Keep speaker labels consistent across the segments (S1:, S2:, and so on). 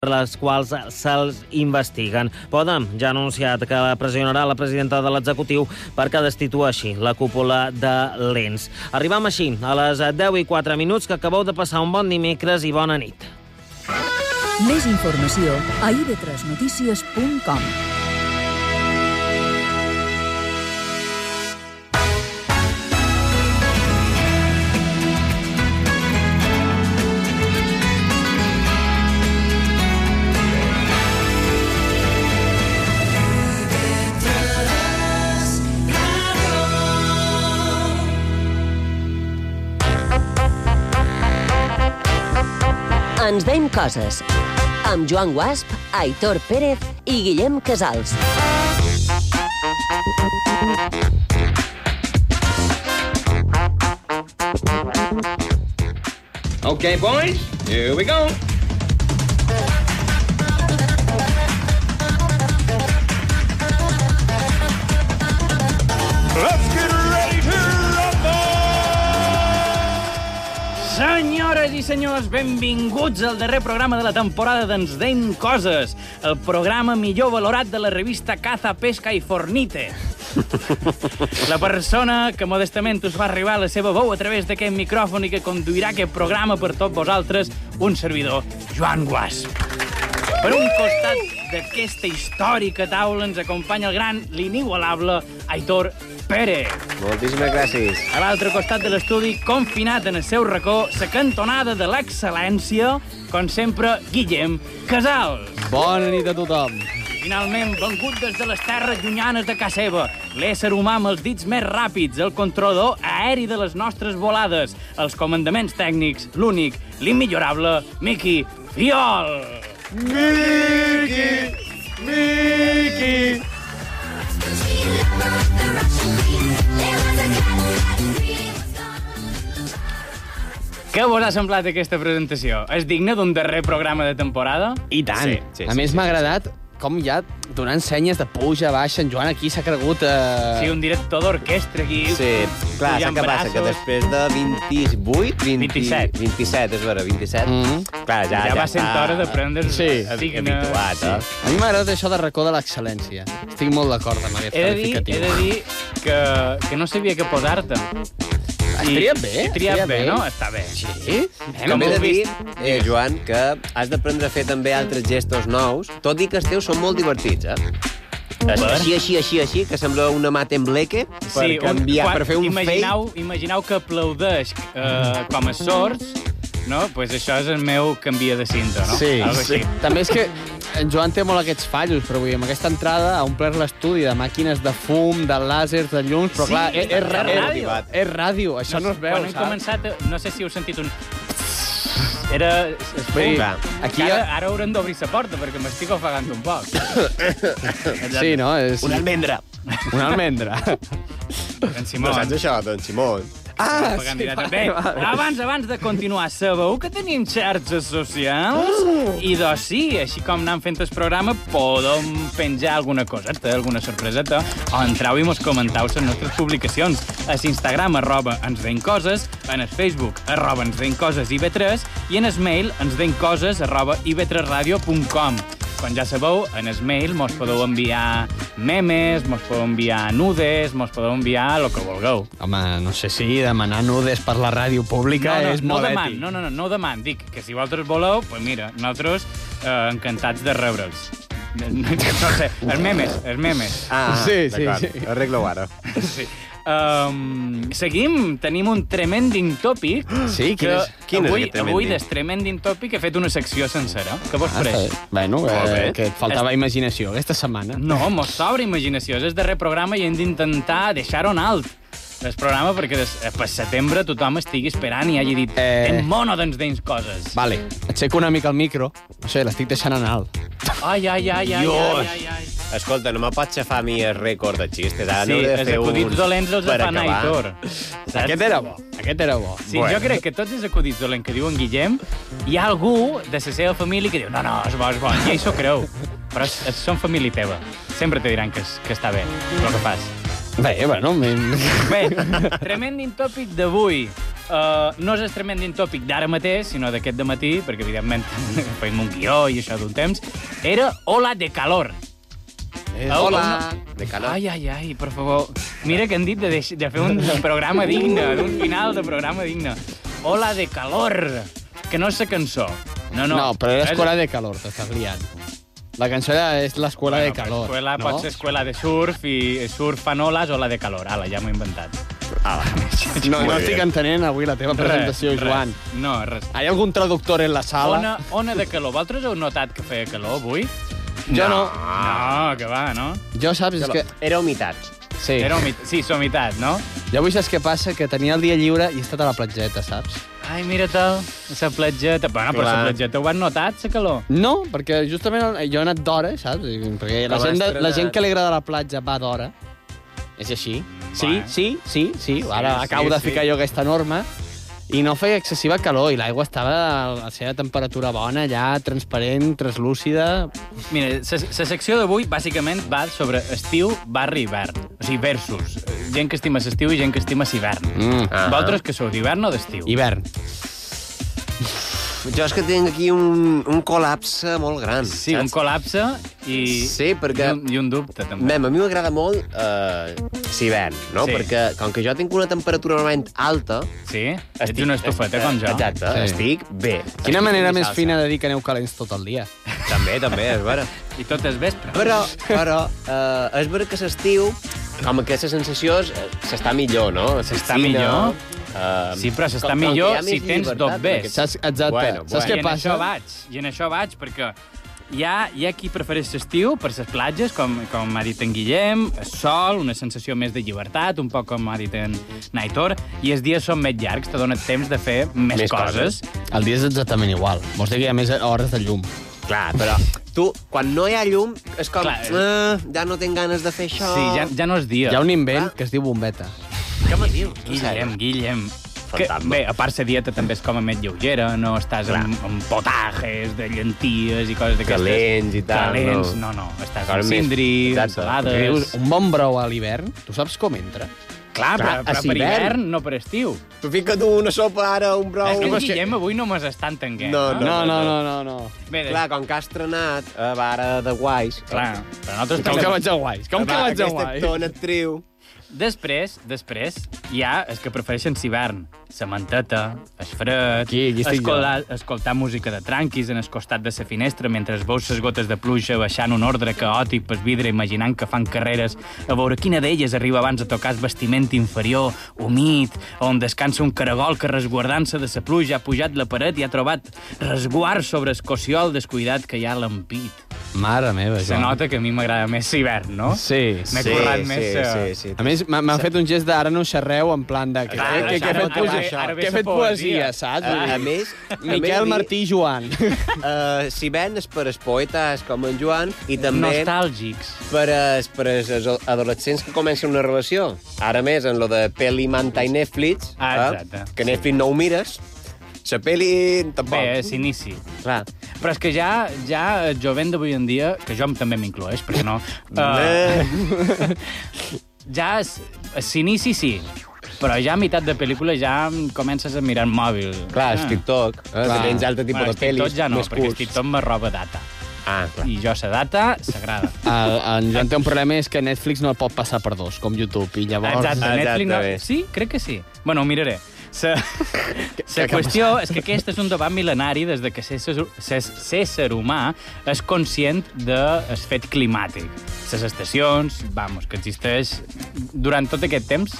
S1: per les quals se'ls investiguen. Podem ja ha anunciat que pressionarà la presidenta de l'executiu perquè destitueixi la cúpula de l'ENS. Arribam així a les 10 i 4 minuts que acabeu de passar un bon dimecres i bona nit.
S2: Més informació a ib3notícies.com.
S3: Ens veiem coses. Amb Joan Guasp, Aitor Pérez i Guillem Casals.
S4: Okay, boys, here we go.
S5: Let's get ready to
S6: Senyores i senyors, benvinguts al darrer programa de la temporada d'Ens Deim Coses, el programa millor valorat de la revista Caza, Pesca i Fornite. La persona que modestament us fa arribar la seva veu a través d'aquest micròfon i que conduirà aquest programa per tots vosaltres, un servidor, Joan Guasp. Per un costat d'aquesta històrica taula ens acompanya el gran, l'inigualable, Aitor Pérez.
S4: Moltíssimes gràcies.
S6: A l'altre costat de l'estudi, confinat en el seu racó, la cantonada de l'excel·lència, com sempre, Guillem Casals.
S4: Bona nit a tothom.
S6: Finalment, vengut des de les terres llunyanes de casa seva, l'ésser humà amb els dits més ràpids, el controlador aeri de les nostres volades, els comandaments tècnics, l'únic, l'immillorable, Miqui Fiol. Què vos ha semblat aquesta presentació? És digna d'un darrer programa de temporada?
S7: I tant.
S4: Sí,
S7: Sí,
S4: sí,
S7: sí, a
S4: sí,
S7: més,
S4: sí,
S7: m'ha agradat com ja donant senyes de puja, baixa, en Joan aquí s'ha cregut... Eh...
S6: Sí, un director d'orquestra aquí.
S4: Sí, clar,
S6: pujant
S4: saps què passa? Que
S6: braços.
S4: després de 28... 20,
S6: 27.
S4: 27, és vera, 27.
S7: Mhm.
S4: Clar, ja,
S6: Mm-hmm. Ja,
S4: ja
S6: va sent
S4: està
S6: hora de prendre's
S7: Sí.
S6: digna.
S4: Habituat, eh?
S7: A mi m'ha agradat això de racó de l'excel·lència. Estic molt d'acord amb aquest
S6: He de dir, he
S7: qualificatiu.
S6: de dir que, que no sabia què posar-te.
S7: Has
S6: I-
S7: triat bé,
S6: He
S7: has
S6: triat
S7: triat
S6: bé,
S7: bé.
S6: no? Està bé. Sí.
S7: Sí?
S4: També he de
S6: heu
S4: dir,
S6: vist?
S4: eh, Joan, que has d'aprendre a fer també altres gestos nous, tot i que els teus són molt divertits, eh? Així, així, així, així, que sembla una mata en bleque per
S6: un-
S4: canviar,
S6: quan-
S4: per fer un
S6: imagineu, fake. Imagineu que aplaudeix eh, com a sords, no? Doncs pues això és el meu canvia de cinta, no?
S7: Sí,
S6: Algo
S7: sí.
S6: així.
S7: També és que en Joan té molt aquests fallos, però avui amb aquesta entrada ha omplert l'estudi de màquines de fum, de làsers, de llums, però
S6: Sí,
S7: clar, és, és,
S6: de
S7: és,
S6: ràdio.
S7: és, és ràdio, això no, es veu,
S6: Quan hem
S7: saps?
S6: començat, eh, no sé si heu sentit un... Era... es-
S7: Vull dir,
S4: Clar.
S7: aquí...
S6: Ara, ara haurem d'obrir la porta, perquè m'estic ofegant un poc.
S7: Sí, no? És...
S4: fake. Una almendra.
S7: Una almendra.
S6: En Simó.
S4: això, d'en Simó?
S7: Ah,
S6: Pagant directe. Bé, abans, abans de continuar, sabeu que tenim xarxes socials? I doncs sí, així com anant fent el programa, podem penjar alguna coseta, alguna sorpreseta, o entrau i mos comentau les nostres publicacions. A l'Instagram, arroba, ens den coses, en el Facebook, arroba, ens den coses ib3, i en el mail, ens den coses, arroba, ib3radio.com. Com ja sabeu, en el mail mos podeu enviar memes, mos podeu enviar nudes, mos podeu enviar el que vulgueu.
S7: Home, no sé si demanar nudes per la ràdio pública
S6: no, no,
S7: és
S6: no
S7: molt
S6: deman,
S7: ètic.
S6: No, no, no, no deman. Dic que si vosaltres voleu, pues mira, nosaltres eh, encantats de rebre'ls. No sé, els memes, els memes.
S4: Ah,
S7: Sí, sí,
S4: d'acord.
S7: sí.
S4: Arregla-ho ara.
S6: Sí. Um, seguim, tenim un tremending topic.
S7: Sí, quin
S6: que
S7: és-
S4: quin és
S6: avui,
S4: aquest tremending?
S6: avui des tremending topic he fet una secció sencera. Què vos
S7: Ah,
S6: pareix?
S7: està bé. bueno,
S4: Molt
S7: eh,
S4: bé.
S7: que et faltava imaginació aquesta setmana.
S6: No, mos s'obre imaginació. És el darrer programa i hem d'intentar deixar-ho en alt. El programa perquè des, eh, per setembre tothom estigui esperant i hagi dit
S7: Eh.
S6: eh... mono d'ens dins coses.
S7: Vale, aixeco una mica el micro. No sé, l'estic deixant en alt.
S6: Ai, ai, ai, ai, ai, ai, ai.
S4: Escolta, no me pots xafar a mi el rècord de xistes. Ara
S6: Sí,
S4: n'heu Ah, de
S6: els
S4: fer
S6: acudits
S4: uns
S6: dolents els
S4: per
S6: fan
S4: acabar.
S6: Aitor.
S7: Aquest era bo, aquest era bo.
S6: Sí, bueno. jo crec que tots els acudits dolents que diu en Guillem, hi ha algú de la seva família que diu no, no, és bo, és bo, i ell s'ho creu. Però és, és, són família teva. Sempre te diran que, és, que està bé el que fas.
S7: Bé, bueno, mi...
S6: Bé, tremendin tòpic d'avui. Uh, no és el tremending topic d'ara mateix, sinó d'aquest de matí, perquè evidentment feim un guió i això d'un temps, era Ola de calor.
S7: Eh,
S6: Au,
S4: Hola! De calor.
S6: Ai, ai, ai, per favor. Mira que han dit de, deix- de fer un programa digne, d'un final de programa digne. Ola de calor, que no és la cançó. No, no.
S7: No, però era
S6: És-
S7: Escuela de Calor, t'estàs liant. La cançó era és l'Escuela
S6: Bueno,
S7: de Calor,
S6: escuela
S7: no?
S6: pot ser escuela de surf i surf fan oles o la de calor. Ala, ja m'ho he inventat. Ah,
S7: No, no
S4: Molt
S7: estic
S4: bé.
S7: entenent avui la teva presentació,
S6: res,
S7: Joan.
S6: Res. No, res.
S7: Hi ha algun traductor en la sala?
S6: Ona, ona de calor. Vosaltres heu notat que feia calor avui?
S7: Jo no.
S6: No, que va, no?
S7: Jo saps, és que...
S4: Era humitat.
S7: Sí.
S6: Era humit... Sí, humitat, no?
S7: Jo avui saps què passa? Que tenia el dia lliure i he estat a la platgeta, saps?
S6: Ai, mira-te'l, la platgeta. Bueno, però la
S4: Clar.
S6: platgeta ho han notat, la calor?
S7: No, perquè justament jo he anat d'hora, saps? I- Perquè la
S4: Però
S7: gent, de,
S4: has
S7: la
S4: trenat.
S7: gent que li agrada la platja va d'hora. És així. Sí,
S6: Bueno.
S7: sí, sí, sí. Ara
S6: sí,
S7: acabo de
S6: sí.
S7: ficar jo aquesta norma. I no feia excessiva calor, i l'aigua estava a la seva temperatura bona, ja transparent, translúcida...
S6: Mira, la secció d'avui bàsicament va sobre estiu, barri, hivern. O sigui, versus. Eh, Gent que estima l'estiu i gent que estima l'hivern.
S7: Mm.
S6: Ah. Vosaltres que sou d'hivern o d'estiu?
S7: Hivern.
S4: Jo és que tinc aquí un, un col·lapse molt gran.
S6: Sí, un col·lapse i,
S4: Sí, perquè-
S6: i, un, i un dubte, també.
S4: Mem, a mi m'agrada molt eh, l'hivern, no?
S6: Sí.
S4: Sí. Perquè com que jo tinc una temperatura normalment alta...
S6: Sí? Ets una estufeta, com jo.
S4: Exacte,
S7: Sí.
S4: sí. estic bé.
S7: Quina
S4: Estic
S7: manera
S4: fent
S7: més
S4: salsa.
S7: fina de dir que aneu calents tot el dia.
S4: També, també, és vera.
S6: I tot és vespre.
S4: Però, però, eh, és vera que l'estiu, com aquesta sensació és- eh, s'està millor, no?
S6: S'està
S4: Piscina,
S6: millor.
S4: eh,
S6: Sí, però s'està
S4: com- com que
S6: millor
S4: hi ha
S6: si
S4: més
S6: tens
S4: llibertat,
S6: dos
S4: perquè
S6: bes.
S7: Saps, exacte.
S4: Bueno,
S7: Saps
S4: bueno.
S7: què
S6: I en
S7: passa?
S6: això vaig, i en això vaig, perquè hi ha, hi ha qui prefereix l'estiu per les platges, com, com ha dit en Guillem, el sol, una sensació més de llibertat, un poc com ha dit en Naitor, i els dies són més llargs, te dona temps de fer més,
S4: Més
S6: coses.
S4: coses.
S7: El dia és exactament igual. Vols dir que hi ha més hores de llum.
S4: Clar, però tu, quan no hi ha llum, és com...
S6: Clar, és-
S4: eh, ja no tinc ganes de fer això...
S6: Sí, ja, ja Ah. no és dia.
S7: Hi ha un invent que es diu bombeta.
S4: Què me dius?
S6: Guillem, Guillem. Que,
S4: Fantasma.
S6: bé, a part, la dieta també és com a més lleugera, no estàs amb, amb potajes de llenties i coses d'aquestes.
S4: Calents i tal,
S6: Calents, no,
S4: no.
S6: no. Estàs
S4: Cal més.
S6: amb cindri, amb
S4: Exacte.
S6: salades...
S7: Que dius, un bon brou a l'hivern, tu saps com entra?
S6: Clar, però,
S4: Clar,
S6: però
S4: a
S6: per
S4: l'hivern.
S6: hivern, no per estiu.
S4: Tu fica't una sopa ara, un brou...
S6: És que
S4: No,
S6: en Guillem avui no mos està entenguent.
S4: No,
S6: no.
S7: No, no, no, no, no.
S6: eh? Bé, eh.
S4: Clar, com que has trenat a vara de guais...
S6: clar. Però nosaltres
S7: Com
S6: també-
S7: que vaig a guais? Com que
S4: va,
S7: vaig a
S4: aquesta
S7: guais?
S4: actona actriu...
S6: Després, després, hi ha els que prefereixen l'hivern. La manteta, el fred,
S7: Aquí, aquí estic
S6: escoltar, escoltar música de tranquis en el costat de la finestra mentre es veus les gotes de pluja baixant un ordre caòtic pel vidre imaginant que fan carreres a veure quina d'elles arriba abans de tocar el vestiment inferior, humit, on descansa un caragol que resguardant-se de la pluja ha pujat la paret i ha trobat resguard sobre el cossiol descuidat que hi ha a l'ampit.
S7: Mare meva,
S6: Se nota que a mi m'agrada més l'hivern, no?
S7: Sí,
S6: M'he
S7: sí.
S6: currat
S4: Doncs. sí,
S6: més... eh,
S4: Sí, sí,
S7: A més, m'ha- m'han fet un gest d'ara no xerreu, en plan de... Que,
S6: Clar,
S7: que, que, que he
S6: ara
S7: fet,
S6: ve-
S7: poesia,
S6: ara ve
S7: que he
S6: sa
S7: fet
S6: poesia.
S7: poesia, saps?
S4: A, a
S7: Vull dir,
S4: més... també
S7: Miquel,
S4: vull dir,
S7: Martí i Joan.
S4: Eh, si ven és per els poetes com en Joan i també
S6: Nostàlgics.
S4: per els, per els adolescents que comencen una relació. Ara més, en lo de peli, manta i Netflix,
S6: Ah, exacte.
S4: que Netflix no ho mires, la peli tampoc.
S6: Bé, és inici.
S4: Clar.
S6: Però és que ja, ja el jovent d'avui en dia, que jo també m'incloeix, perquè no... Ah.
S4: Eh.
S6: Uh, ja és... S'inici sí, però ja a meitat de pel·lícula ja comences a mirar el mòbil. Ah.
S4: Clar, és TikTok, eh? Clar. que tens altre tipus
S6: bueno,
S4: de pel·lis,
S6: TikTok ja no,
S4: més
S6: perquè
S4: curts.
S6: TikTok me roba data.
S4: Ah, clar.
S6: I jo sa data s'agrada.
S7: El, en Joan té un problema, és que Netflix no el pot passar per dos, com YouTube, i llavors...
S6: Exacte,
S4: Exacte,
S6: Netflix no...
S4: bé.
S6: Sí, crec que sí. Bueno, ho miraré. La
S7: que- que-
S6: qüestió és que aquest és un debat mil·lenari des de que s'ésser s'és- s'ésser humà és conscient del fet climàtic. Les estacions, vamos, que existeix durant tot aquest temps,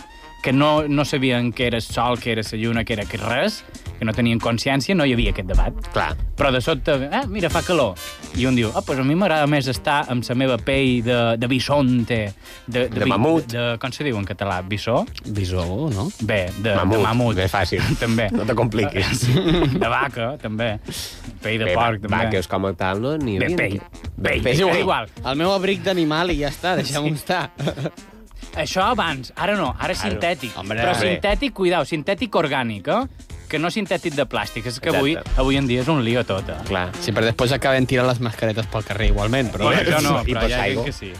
S6: que no, no sabien que era el sol, que era la lluna, que era que res, que no tenien consciència, no hi havia aquest debat.
S4: Clar.
S6: Però de sobte, ah, mira, fa calor. I un diu, ah, doncs a mi m'agrada més estar amb la meva pell de, de bisonte. De,
S4: De mamut.
S6: De, de, com se diu en català? Bisó?
S7: Bisó, no?
S6: Bé, de mamut.
S4: Mamut.
S6: De mamut.
S4: Bé, fàcil.
S6: també.
S4: No te compliquis.
S6: De vaca, també. Pell de
S4: Bé, va,
S6: porc,
S4: va, que
S6: també.
S4: és com a tal, no? Ni
S6: De
S4: havia-
S6: pell. Pell.
S4: pell.
S6: És igual. igual.
S7: El meu abric d'animal i ja està, deixem-ho estar.
S6: Això abans, ara no, ara sintètic.
S7: Hombre,
S6: Però
S7: bé.
S6: sintètic, cuidao, sintètic orgànic, eh? que no sintètic de plàstic. És que avui,
S4: Exacte.
S6: avui en dia és un lío tot. Eh?
S4: Clar.
S7: Sí, però després acaben tirant les mascaretes pel carrer igualment, però...
S6: Bueno, jo no,
S4: I
S6: però
S4: per
S6: hi ha gent
S4: aigua.
S6: que sí.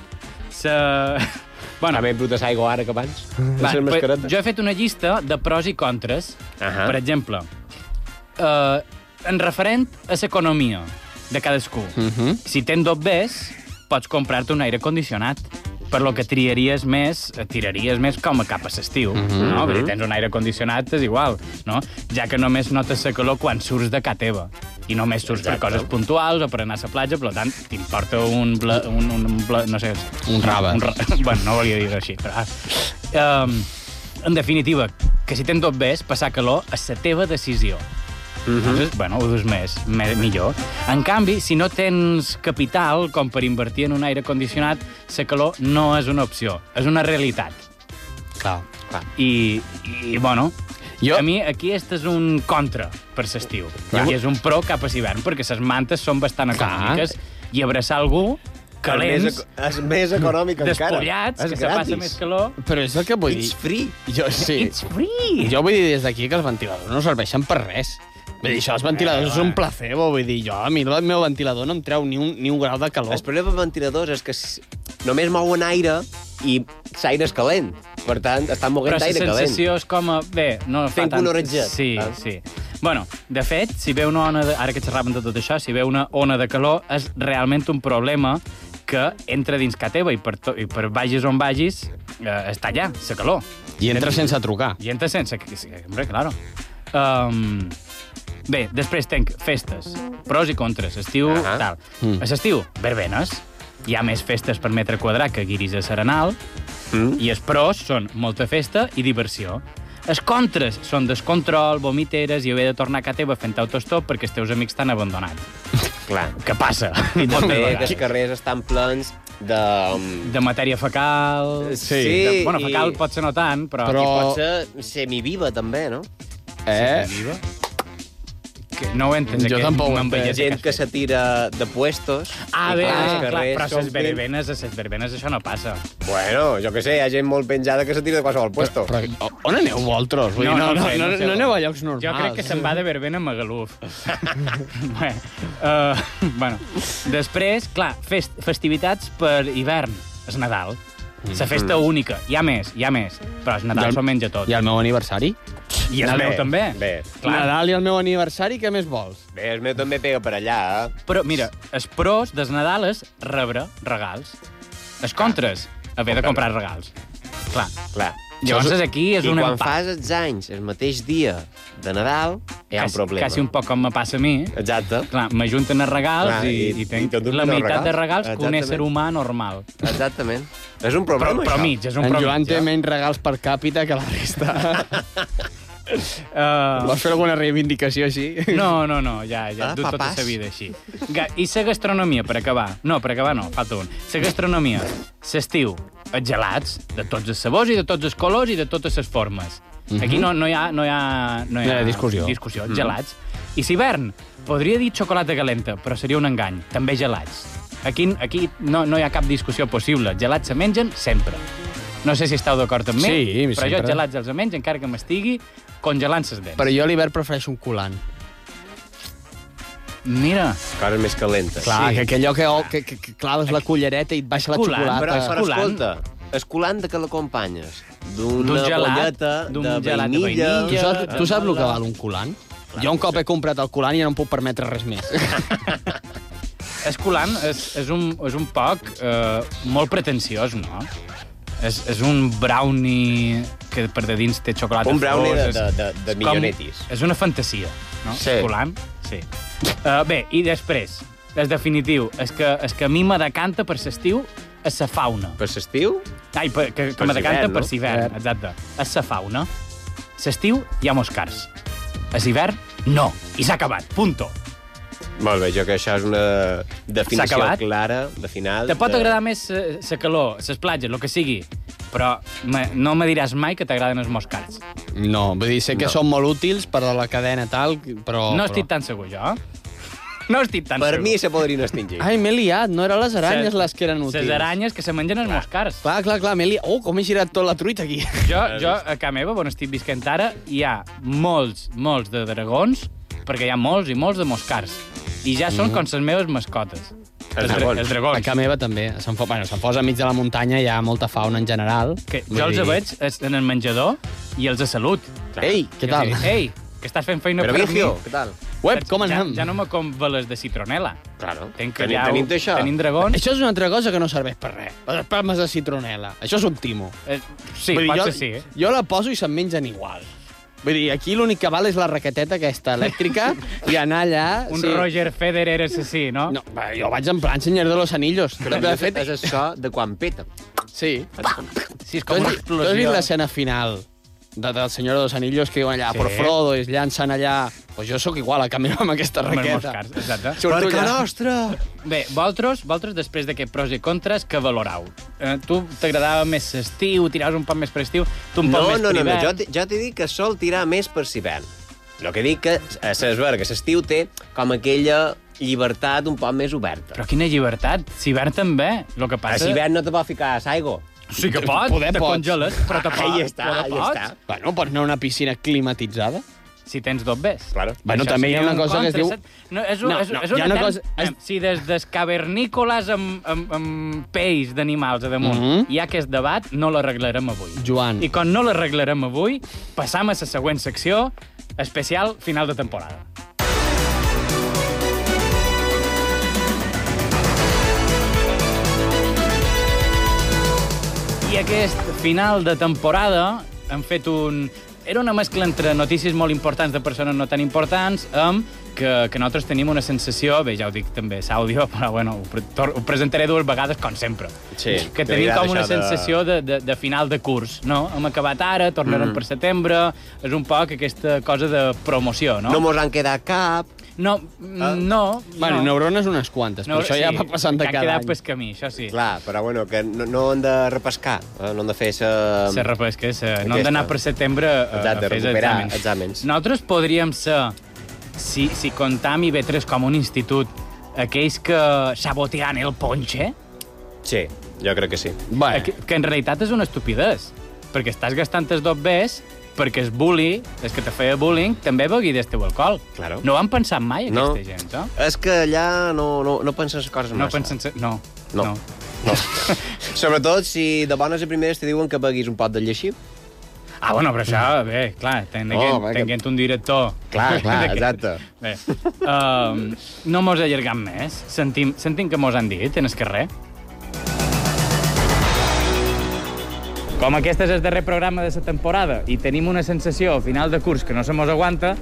S6: Se... Bueno,
S4: Bueno, haver brutes aigua ara que abans. Va,
S6: Va,
S4: les
S6: però
S4: mascaretes.
S6: jo he fet una llista de pros i contres.
S4: Ahà.
S6: Per exemple, eh, en referent a l'economia de cadascú.
S7: Mhm.
S6: Si tens dobbers, pots comprar-te un aire condicionat per lo que triaries més, eh, tiraries més com a cap a l'estiu,
S7: Mhm.
S6: no? Vull dir, tens un aire condicionat, és igual, no? Ja que només notes la calor quan surts de casa teva i només surts per coses puntuals o per anar a la platja, per tant, t'importa un, bla, un, un, un bla, no sé...
S7: Un rave.
S6: Un, ra- bueno, no volia dir així, però... Um, en definitiva, que si tens tot bes, passar calor és la teva decisió. Mm -hmm. Entonces, bueno, ho dus més, me, millor. En canvi, si no tens capital com per invertir en un aire condicionat, la calor no és una opció, és una realitat.
S7: Clar.
S6: I, i bueno,
S7: Jo-
S6: jo... a mi aquí este és un contra per l'estiu.
S7: Jo-
S6: I és un pro cap a l'hivern, perquè les mantes són bastant
S7: Clar.
S6: econòmiques i abraçar algú
S4: És
S6: calents,
S4: més, eco- és més econòmic encara.
S6: despullats,
S4: És
S6: que se passa més calor...
S7: Però és el que vull
S4: It's
S7: dir.
S4: free.
S7: Jo, sí.
S6: It's free!
S7: Jo vull dir des d'aquí que els ventiladors no serveixen per res. Vull dir, això, els ventiladors és un placebo. Vull dir, jo, a mi el meu ventilador no em treu ni un, ni un grau de calor.
S4: El problema amb ventiladors és que s- només mouen aire i l'aire és calent. Per tant, estan moguent
S6: Però la
S4: aire calent.
S6: sensació és com... A... Bé, no fa
S4: Fent
S6: tant...
S4: colorejat,
S6: Sí,
S4: eh?
S6: sí. Bueno, de fet, si ve una ona... De... Ara que xerraven de tot això, si ve una ona de calor, és realment un problema que entra dins ca teva i per, to... i per vagis on vagis eh, està allà, la calor.
S7: I entra sense trucar.
S6: I entra sense... que- sí, Hombre, claro. Um... Bé, després tenc festes, pros i contres, estiu, uh
S4: Ahà.
S6: -huh. tal. Mm. A l'estiu, verbenes, hi ha més festes per metre quadrat que guiris a Serenal,
S4: Mm?
S6: i els pros són molta festa i diversió. Els contres són descontrol, vomiteres i haver de tornar a casa teva fent autostop perquè els teus amics t'han abandonat.
S4: Clar.
S6: Què passa? I
S4: També que els carrers estan plens de... um,
S6: De matèria fecal...
S4: Sí.
S6: De, bueno, fecal pot ser no tant, però...
S4: I
S7: Però-
S4: pot ser semiviva, també, no?
S7: Eh?
S6: Viva. Que no ho entens,
S7: Jo
S6: aquest
S7: tampoc ho
S6: mambelleta
S7: entenc.
S6: que
S4: Gent
S6: has
S4: que
S6: fet.
S4: se tira de puestos.
S6: Ah,
S4: i
S6: bé,
S4: clar, els
S6: clar, clar,
S4: carrers
S6: però a les
S4: s'omplen.
S6: verbenes, a les verbenes això no passa.
S4: Bueno, jo que sé, hi ha gent molt penjada que se tira de qualsevol puesto.
S7: Però, o- on aneu vosaltres? Vull dir, no, no, no,
S6: sé,
S7: no,
S6: sé.
S7: no, aneu a llocs normals.
S6: Jo crec que se'n va de verbena a Magaluf. Bé, uh, bueno. Després, clar, fest, festivitats per hivern. És Nadal. La festa
S7: Mm.
S6: única. Hi ha més, hi ha més. Però és
S7: I
S6: Nadal
S7: el-
S6: s'ho menja tot.
S7: I el meu aniversari?
S6: I el
S4: Bé,
S6: meu també.
S4: Bé,
S6: Clar.
S7: Nadal i el meu aniversari, què més vols?
S4: bé, el meu també pega per allà, eh?
S6: Però, mira, els pros des Nadal és rebre regals. Els contres, haver de comprar regals. Clar.
S4: Clar.
S6: Llavors, aquí és
S4: I
S6: un
S4: quan
S6: empat.
S4: fas els anys, el mateix dia de Nadal, hi ha un
S6: Quasi-
S4: problema.
S6: Quasi un poc com me passa a mi.
S4: Exacte.
S6: Clar, m'ajunten els regals
S4: Clar,
S6: i, i,
S4: i- i
S6: tenc
S4: tot un
S6: la
S4: de
S6: meitat de
S4: regals.
S6: regals que un
S4: Exactament.
S6: ésser humà normal.
S4: Exactament. És un
S6: Però,
S4: problema,
S6: però
S4: això.
S6: mig, és un
S7: en
S6: però
S7: Joan
S6: mig.
S7: té menys regals per càpita que la resta.
S6: Uh,
S7: Vols fer alguna reivindicació així?
S6: no, no, no, ja,
S4: Ah,
S6: ja et dut tota
S4: papàs.
S6: la vida així. Ga- I la gastronomia, per acabar. No, per acabar no, falta un. La gastronomia, l'estiu, els gelats, de tots els sabors i de tots els colors i de totes les formes. Aquí no, no hi ha... No hi ha, no
S7: Mhm. No hi ha discussió. Mhm.
S6: discussió gelats. I s'hivern, podria dir xocolata calenta, però seria un engany. També gelats. Aquí, aquí no, no hi ha cap discussió possible. Gelats se mengen sempre. No sé si esteu d'acord amb mi,
S7: Sí,
S6: però jo
S7: sempre.
S6: gelats els menjo encara que m'estigui congelant ses dents.
S7: Però jo a l'hivern prefereixo un colant.
S6: Mira,
S4: Coses més calentes.
S7: Clar, sí. que aquell que, que, que, que claves la cullereta i et baixa la
S6: Colant,
S7: xocolata.
S4: Però, però
S6: Escolant.
S4: escolta, escolant de què l'acompanyes? D'una
S6: D'un gelat,
S4: polleta,
S6: d'un
S4: de
S6: gelat de
S4: vainilla...
S7: Tu
S6: vainilla.
S7: saps, tu saps el que val un colant? Jo un cop he comprat el colant i ja no em puc permetre res més.
S6: és colant, és, és, un, és un poc eh, molt pretensiós, no? És, és un brownie que per de dins té xocolata.
S4: Un brownie de,
S6: fos,
S4: de,
S6: és-
S4: de, de
S6: és com-
S4: millonetis.
S6: És una fantasia, no?
S4: Sí.
S6: Colant, sí. Uh, bé, i després, és definitiu, és que, és que a mi me decanta per l'estiu a sa fauna.
S4: Per l'estiu?
S6: Ai, per, que, que
S4: Per
S6: me decanta
S4: l'hivern,
S6: per
S4: no?
S6: l'hivern, exacte. A sa fauna. S'estiu hi ha moscars. A l'hivern, no. I s'ha acabat, punto.
S4: Molt bé, jo que això és una
S6: S'ha
S4: definició
S6: acabat?
S4: clara, de final...
S6: Te pot
S4: de...
S6: agradar més eh, sa calor, ses platges, el que sigui, però me, no me diràs mai que t'agraden els moscats.
S7: No, vull dir, sé que no. són molt útils per a la cadena tal, però...
S6: Oh, no
S7: però...
S6: estic tan segur, jo. No estic tan
S4: Per
S6: segur.
S4: mi se podrien extingir.
S7: Ai, m'he liat, no eren les aranyes les que eren útils.
S6: Ses aranyes que se mengen els moscars.
S7: Clar, clar, clar, m'he liat. Oh, com he girat tot la truita aquí.
S6: Jo, jo a casa meva, on estic visquent ara, hi ha molts, molts de dragons, perquè hi ha molts i molts de moscars. I ja són com les meves mascotes.
S4: Els dragons.
S6: Els
S7: Mm. A
S6: dragons.
S7: casa meva també. A Sant Fos, bueno, a Sant Fos, enmig de la muntanya, hi ha molta fauna en general.
S6: Que
S7: Vull
S6: jo els
S7: dir-
S6: veig es- en el menjador i els de salut.
S4: Ei,
S7: Què
S6: Que
S7: tal?
S6: sí, Ei, que estàs fent feina
S4: Però
S6: per mi.
S4: Vigio, què tal?
S7: Web, com anem?
S6: Ja, ja no me conveles de citronela.
S4: Claro.
S6: Tenc que
S4: Tenim-
S6: ja ho-
S4: tenim d'això.
S6: Tenim dragons.
S7: Això és una altra cosa que no serveix per res. Les palmes de citronela. Això és optimo.
S6: Eh, sí,
S7: Vull dir,
S6: pot
S7: jo,
S6: ser sí. Eh?
S7: Jo la poso i se'n mengen igual. Vull dir, aquí l'únic que val és la raqueteta aquesta elèctrica i anar allà...
S6: Un Roger Federer assassí, no?
S7: No, va, jo vaig en plan senyor de los anillos.
S4: Però
S7: de fet,
S4: és això de quan peta.
S7: sí.
S6: Sí, és
S7: Tu
S6: com
S7: has,
S6: una
S7: vist- tu has vist
S6: explosió.
S7: l'escena final de, del Senyor de los Anillos que diuen allà
S6: Sí.
S7: sí. por Frodo i es llancen allà? Pues jo sóc igual a canvi amb aquesta
S6: Amb els
S7: raqueta.
S6: moscars, exacte.
S7: Surto allà.
S4: nostra!
S6: Bé, vosaltres, vosaltres després d'aquest pros i contres, que valorau? Eh, tu t'agradava més l'estiu, tiraves un poc més per estiu, tu un
S4: No,
S6: poc
S4: no,
S6: més
S4: no, no,
S6: privat.
S4: jo, t'he- jo t'he dit que sol tirar més per l'hivern. El que dic que a les Bergues l'estiu té com aquella llibertat un poc més oberta.
S6: Però quina llibertat, si verd també. El que
S4: A
S6: passa...
S4: l'hivern no te pot ficar a l'aigua.
S6: Sí que pots,
S7: Poder
S6: te
S7: pots.
S6: congeles, però te
S4: Ah,
S6: pots.
S4: ja està,
S6: però
S4: ja
S6: te pots,
S4: està.
S7: Bueno, pots anar a una piscina climatitzada?
S6: Si tens dobbes.
S4: Claro.
S7: Bueno, també hi ha
S6: seria
S7: una
S6: un
S7: cosa que es diu-
S6: contraset. No, és, un,
S7: No,
S6: és,
S7: no,
S6: és
S7: hi ha
S6: una,
S7: una
S6: cosa...
S7: cosa- és-
S6: Si des dels cavernícoles amb, amb, amb pells d'animals a damunt mm
S7: Mhm.
S6: -hmm. hi ha aquest debat, no l'arreglarem avui.
S7: Joan.
S6: I com no l'arreglarem avui, passam a la següent secció, especial final de temporada. I aquest final de temporada han fet un... Era una mescla entre notícies molt importants de persones no tan importants amb que, que nosaltres tenim una sensació, bé, ja ho dic també, s'àudio, però bueno, ho, pre tor- ho presentaré dues vegades, com sempre.
S4: Sí,
S6: que
S4: que
S6: tenim
S4: dirà
S6: com una
S4: això de-
S6: sensació de, de, de final de curs, no? Hem acabat ara, tornarem mm. per setembre, és un poc aquesta cosa de promoció, no?
S4: No Ah. mos han quedat cap.
S6: no, mm, no, no.
S7: Bueno, neurones unes quantes, però això ja va passant de
S6: que
S7: cada
S6: Han
S7: any.
S6: quedat pel camí, això sí.
S4: Clar, però bueno, que no, no han de repescar, eh? no han de fer sa...
S6: Se repesca, se... no hem
S4: Aquesta.
S6: d'anar per setembre eh, a,
S4: Exacte,
S6: a fer els
S4: recuperar
S6: exàmens.
S4: exàmens.
S6: Nosaltres podríem ser, si, si comptam IB3 com un institut, aquells que sabotean el ponche,
S4: Sí, jo crec que sí.
S7: Bueno,
S6: que, que en realitat és una estupidesa, perquè estàs gastant els dobbers perquè el bully, el que te feia bullying, també begui del teu alcohol.
S4: Claro.
S6: No ho han pensat mai,
S4: No.
S6: aquesta gent, no?
S4: És que allà no, no, no penses coses
S6: No
S4: massa.
S6: pensen... se- No.
S4: No.
S6: no.
S4: No. Sobretot si de bones a primeres te diuen que beguis un pot de lleixiu.
S6: Ah, bueno, però això, bé, clar, tenint,
S4: Mm. Oh,
S6: oh,
S4: va, que-
S6: tenint un director...
S4: Clar, clar,
S6: que-
S4: exacte.
S6: Bé, um, no mos allargam més. Sentim, sentim que mos han dit en el carrer. Com aquest és el darrer programa de la temporada i tenim una sensació a final de curs que no se mos aguanta,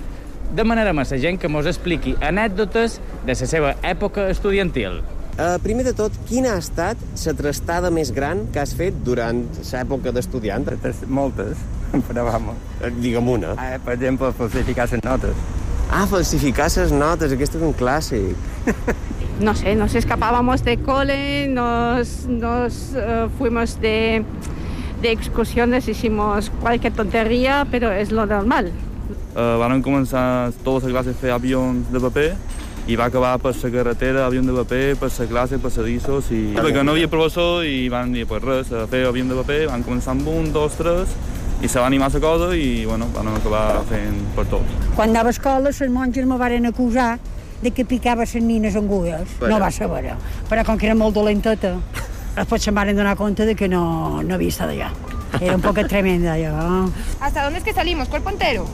S6: demanarem a la gent que mos expliqui anècdotes de la seva època estudiantil.
S4: Uh, primer de tot, quina ha estat la trastada més gran que has fet durant l'època d'estudiant?
S5: Moltes, moltes, però vamos.
S4: Eh, Digue'm una.
S5: Eh, per exemple, falsificar les notes.
S4: Ah, falsificar les notes, aquest és un clàssic.
S8: no sé, nos escapábamos de cole, nos, nos eh, fuimos de, de excursiones, hicimos cualquier tontería, pero es lo normal.
S5: Uh, van començar totes les classes a fer avions de paper i va acabar per la carretera, avion de paper, per la classe, passadissos i... Perquè no hi havia professor i van dir, pues res, a fer avion de paper, van començar amb un, dos, tres, i se va animar la cosa i, bueno, van acabar fent per tot.
S9: Quan anava a escola, les monges me varen acusar de que picava les nines angulles.
S4: Bueno.
S9: Bueno. No va saber. Però com que era molt dolenteta, després se'n van donar compte de que no, no havia estat allà. Era un poc tremenda, allò.
S10: ¿Hasta dónde es que salimos? ¿Cuerpo entero?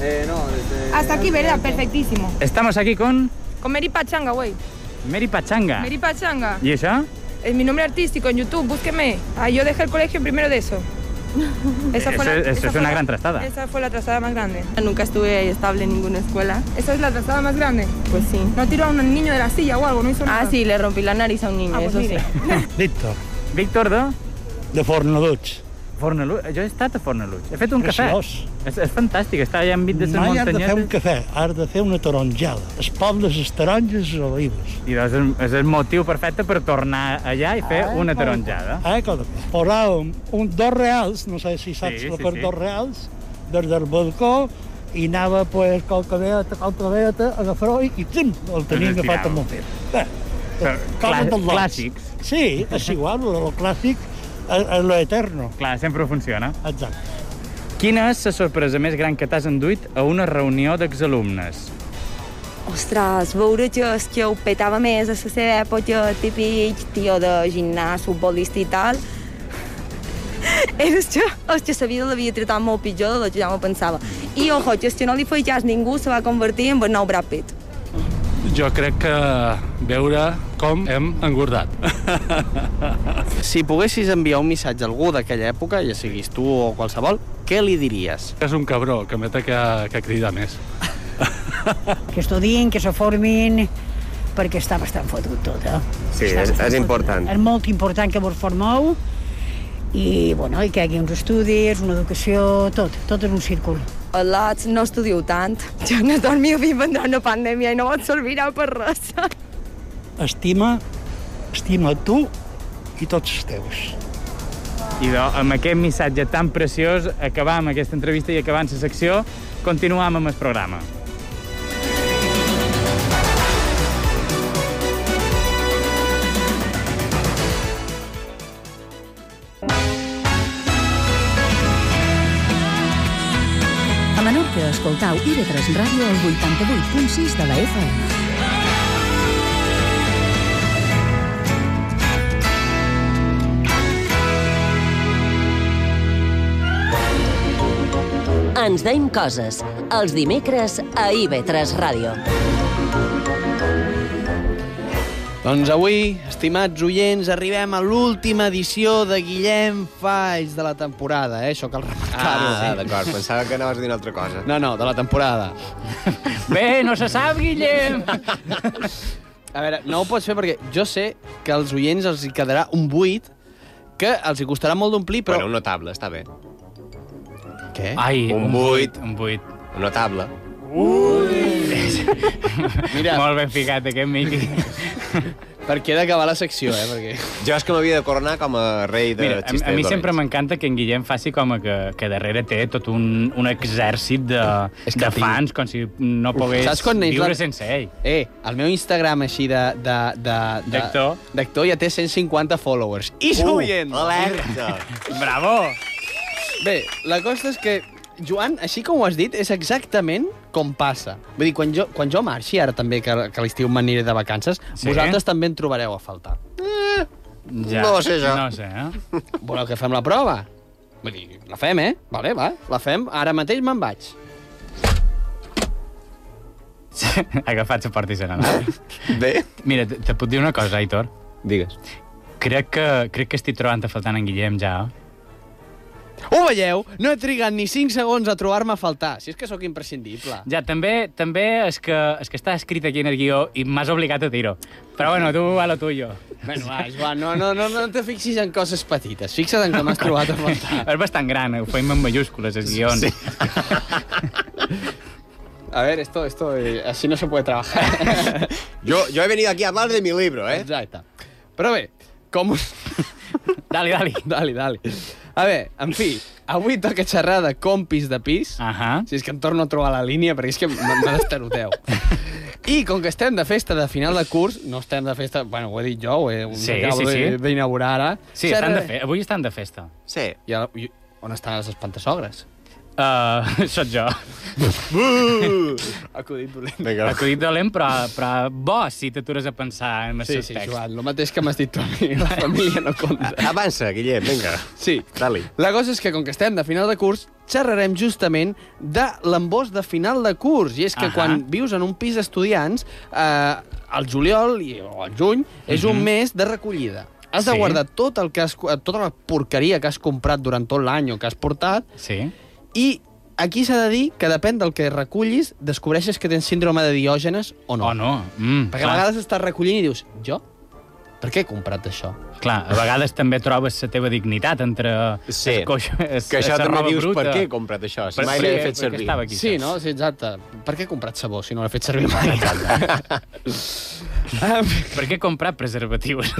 S5: Eh, no, desde...
S10: Hasta aquí, ¿verdad? Perfectísimo.
S6: Estamos aquí con
S10: Con Mary Pachanga, güey.
S6: Mary
S5: Ah.
S6: Pachanga.
S10: Mary Pachanga.
S6: ¿Y això?
S10: Es mi nombre artístico en YouTube, búsqueme. Ah, yo dejé el colegio primero de eso. Esa
S6: Eso- eso es
S10: fue
S6: una
S10: la-
S6: gran trastada.
S10: Esa fue la trastada más grande.
S11: Nunca estuve estable en ninguna escuela.
S10: ¿Esa es la trastada más grande?
S11: Pues sí.
S10: No tiró a un niño de la silla o algo, no hizo nada.
S11: Ah, sí, le rompí la nariz a un niño,
S10: Ah, pues
S11: eso sí.
S10: mire.
S12: Víctor,
S6: Víctor de...
S12: de Fornaluig.
S6: Fornaluig. Jo he estat a Fornaluig. He fet un cafè.
S12: Preciós.
S6: És, és fantàstic, està allà enmig de les
S12: Mai has de fer un
S6: muntanyes.
S12: cafè, has de fer una taronjada. Es pobles, les taronges i les olives.
S6: I doncs és, és el motiu perfecte per tornar allà i
S12: Ah.
S6: fer una taronjada.
S12: Eh, cosa? Posàvem un, dos reals, no sé si saps
S6: Sí,
S12: sí,
S6: sí,
S12: sí, per
S6: sí.
S12: dos reals, des del balcó, i anava, pues, qualque vegada, qualque vegada, agafar-ho i, i tim, el tenia
S6: Doncs
S12: agafat
S6: tirava.
S12: amb un fil. Bé,
S6: Però
S12: cosa
S6: clà-
S12: del dos.
S6: clàssics.
S12: Sí, és igual, lo, lo clàssic, a, a lo eterno.
S6: Clar, sempre funciona.
S12: Exacte.
S6: Quina és la sorpresa més gran que t'has enduit a una reunió d'exalumnes?
S10: Ostres, veure just que ho petava més a la seva època, típic tio de gimnàs, futbolista i tal, era això, el que sabia l'havia tratat molt pitjor de lo que ja me pensava. I, ojo, que és que no li feia cas ningú, se va convertir en el nou Brad Pitt.
S13: Jo crec que veure com hem engordat.
S7: Si poguessis enviar un missatge a algú d'aquella època, ja siguis tu o qualsevol, què li diries?
S13: És un cabró, que m'he que, que crida més.
S9: Que estudin, que se formin, perquè està bastant fotut tot, eh?
S4: Sí, és, és important.
S9: És molt important que vos formeu i, bueno, i que hi hagi uns estudis, una educació, tot, tot és un círcul.
S10: A lots no estudiu tant. Jo no dormia fins vendrà una pandèmia i no em servirà per res.
S12: Estima, estima tu i tots els teus.
S6: Idò, amb aquest missatge tan preciós, acabar amb aquesta entrevista i acabar amb la secció, continuam amb el programa.
S2: A Menorca escoltau IB3 Ràdio al 88.6 de la FM.
S3: Ens deim coses. Els dimecres a IB3 Ràdio.
S7: Doncs avui, estimats oients, arribem a l'última edició de Guillem Faix de la temporada, eh? Això cal remarcar-ho. eh?
S4: Ah, d'acord, pensava que anaves a dir una altra cosa.
S7: No, no, de la temporada.
S6: Bé, no se sap, Guillem!
S7: A veure, no ho pots fer perquè jo sé que als oients els hi quedarà un buit que els hi costarà molt d'omplir, però...
S4: Bueno, un notable, està bé.
S7: Què?
S6: Ai,
S4: un,
S6: un
S4: buit.
S6: Un buit.
S4: Un notable.
S7: Mira.
S6: Molt ben ficat, aquest Miqui.
S7: Perquè he d'acabar la secció, eh? Perquè...
S4: Jo és que m'havia de coronar com a rei de
S6: Mira, a, a mi sempre m'encanta que en Guillem faci com a que, que darrere té tot un, un exèrcit de,
S7: que
S6: de
S7: tinc-
S6: fans, com si no pogués
S7: Saps quan neix
S6: viure
S7: la-
S6: sense ell.
S7: Eh, el meu Instagram així de... de, de, de
S6: D'actor.
S7: D'actor ja té 150 followers. I s'oient!
S4: Uh, alerta!
S6: Bravo!
S7: Bé, la cosa és que, Joan, així com ho has dit, és exactament com passa. Vull dir, quan jo, quan jo marxi, ara també, que, que a l'estiu m'aniré de vacances,
S6: Sí.
S7: sí. vosaltres també en trobareu a faltar.
S6: Ja.
S4: No ho sé, jo.
S6: No ho sé, eh?
S7: Voleu que fem la prova? Vull dir, la fem, eh? Vale, va, la fem. Ara mateix me'n vaig.
S6: Agafat la porta i se n'anà.
S4: Bé?
S6: Mira, te, te puc dir una cosa, Aitor?
S4: Digues.
S6: Crec que, crec que estic trobant a faltant en Guillem ja. eh?
S7: Ho veieu? No he trigat ni 5 segons a trobar-me a faltar. Si és que sóc imprescindible.
S6: Ja, també també és que, és que està escrit aquí en el guió i m'has obligat a dir-ho. Però bueno, tu a lo tuyo.
S7: Bueno, va, Joan, no, no, no, no te fixis en coses petites. Fixa't en com has trobat a faltar.
S6: És bastant gran, eh? ho feim en mayúscules, els guions. Sí.
S7: A ver, esto, esto, eh, así no se puede trabajar.
S4: Jo, jo he venido aquí a hablar de mi libro, eh?
S7: Exacte. Però bé, com... us-
S6: Dali, dali.
S7: dali, dali. A veure, en fi, avui toca xerrar de compis de pis.
S6: Ahà.
S7: Si és que em torno a trobar la línia, perquè és que me me destaroteu. I com que estem de festa de final de curs, no estem de festa... Bueno, ho he dit jo, ho he,
S6: Sí,
S7: ho acabo
S6: sí, sí.
S7: de- d'inaugurar ara.
S6: Sí, estan de fe... avui estan de festa.
S4: Sí.
S7: I ara, i on estan les espantasogres?
S6: Uh, sóc jo.
S4: Uh!
S7: Acudit dolent.
S4: Vinga.
S6: Acudit dolent, però, però bo si t'atures a pensar en els
S7: Sí,
S6: seus
S7: sí,
S6: texts.
S7: Joan, el mateix que m'has dit tu a mi, la família no compta.
S4: Avança, Guillem, vinga.
S7: Sí.
S4: Dali.
S7: La cosa és que, com que estem de final de curs, xerrarem justament de l'embós de final de curs. I és que
S6: Ahà.
S7: quan vius en un pis d'estudiants, eh, el juliol i, o el juny és un mes de recollida. Has
S6: Mhm.
S7: de
S6: Sí.
S7: guardar tot el que has, co- tota la porqueria que has comprat durant tot l'any o que has portat
S6: Sí.
S7: i aquí s'ha de dir que depèn del que recullis, descobreixes que tens síndrome de diògenes o no.
S6: O no. Mm,
S7: Perquè a
S6: clar,
S7: vegades estàs recollint i dius, jo? Per què he comprat això?
S6: clar, a vegades també trobes la teva dignitat entre...
S4: Sí.
S6: es coix- es-
S4: Que això
S6: la
S4: també
S6: roba
S4: dius,
S6: bruta.
S4: per què he comprat això? Si
S6: Per-
S4: mai
S6: per
S4: l'he
S6: què-
S4: fet
S6: per què
S4: servir.
S6: Estava aquí,
S7: Sí, no? Sí, exacte. Per què he comprat sabó si no l'he fet servir mai? Em-
S6: Per què he comprat preservatius?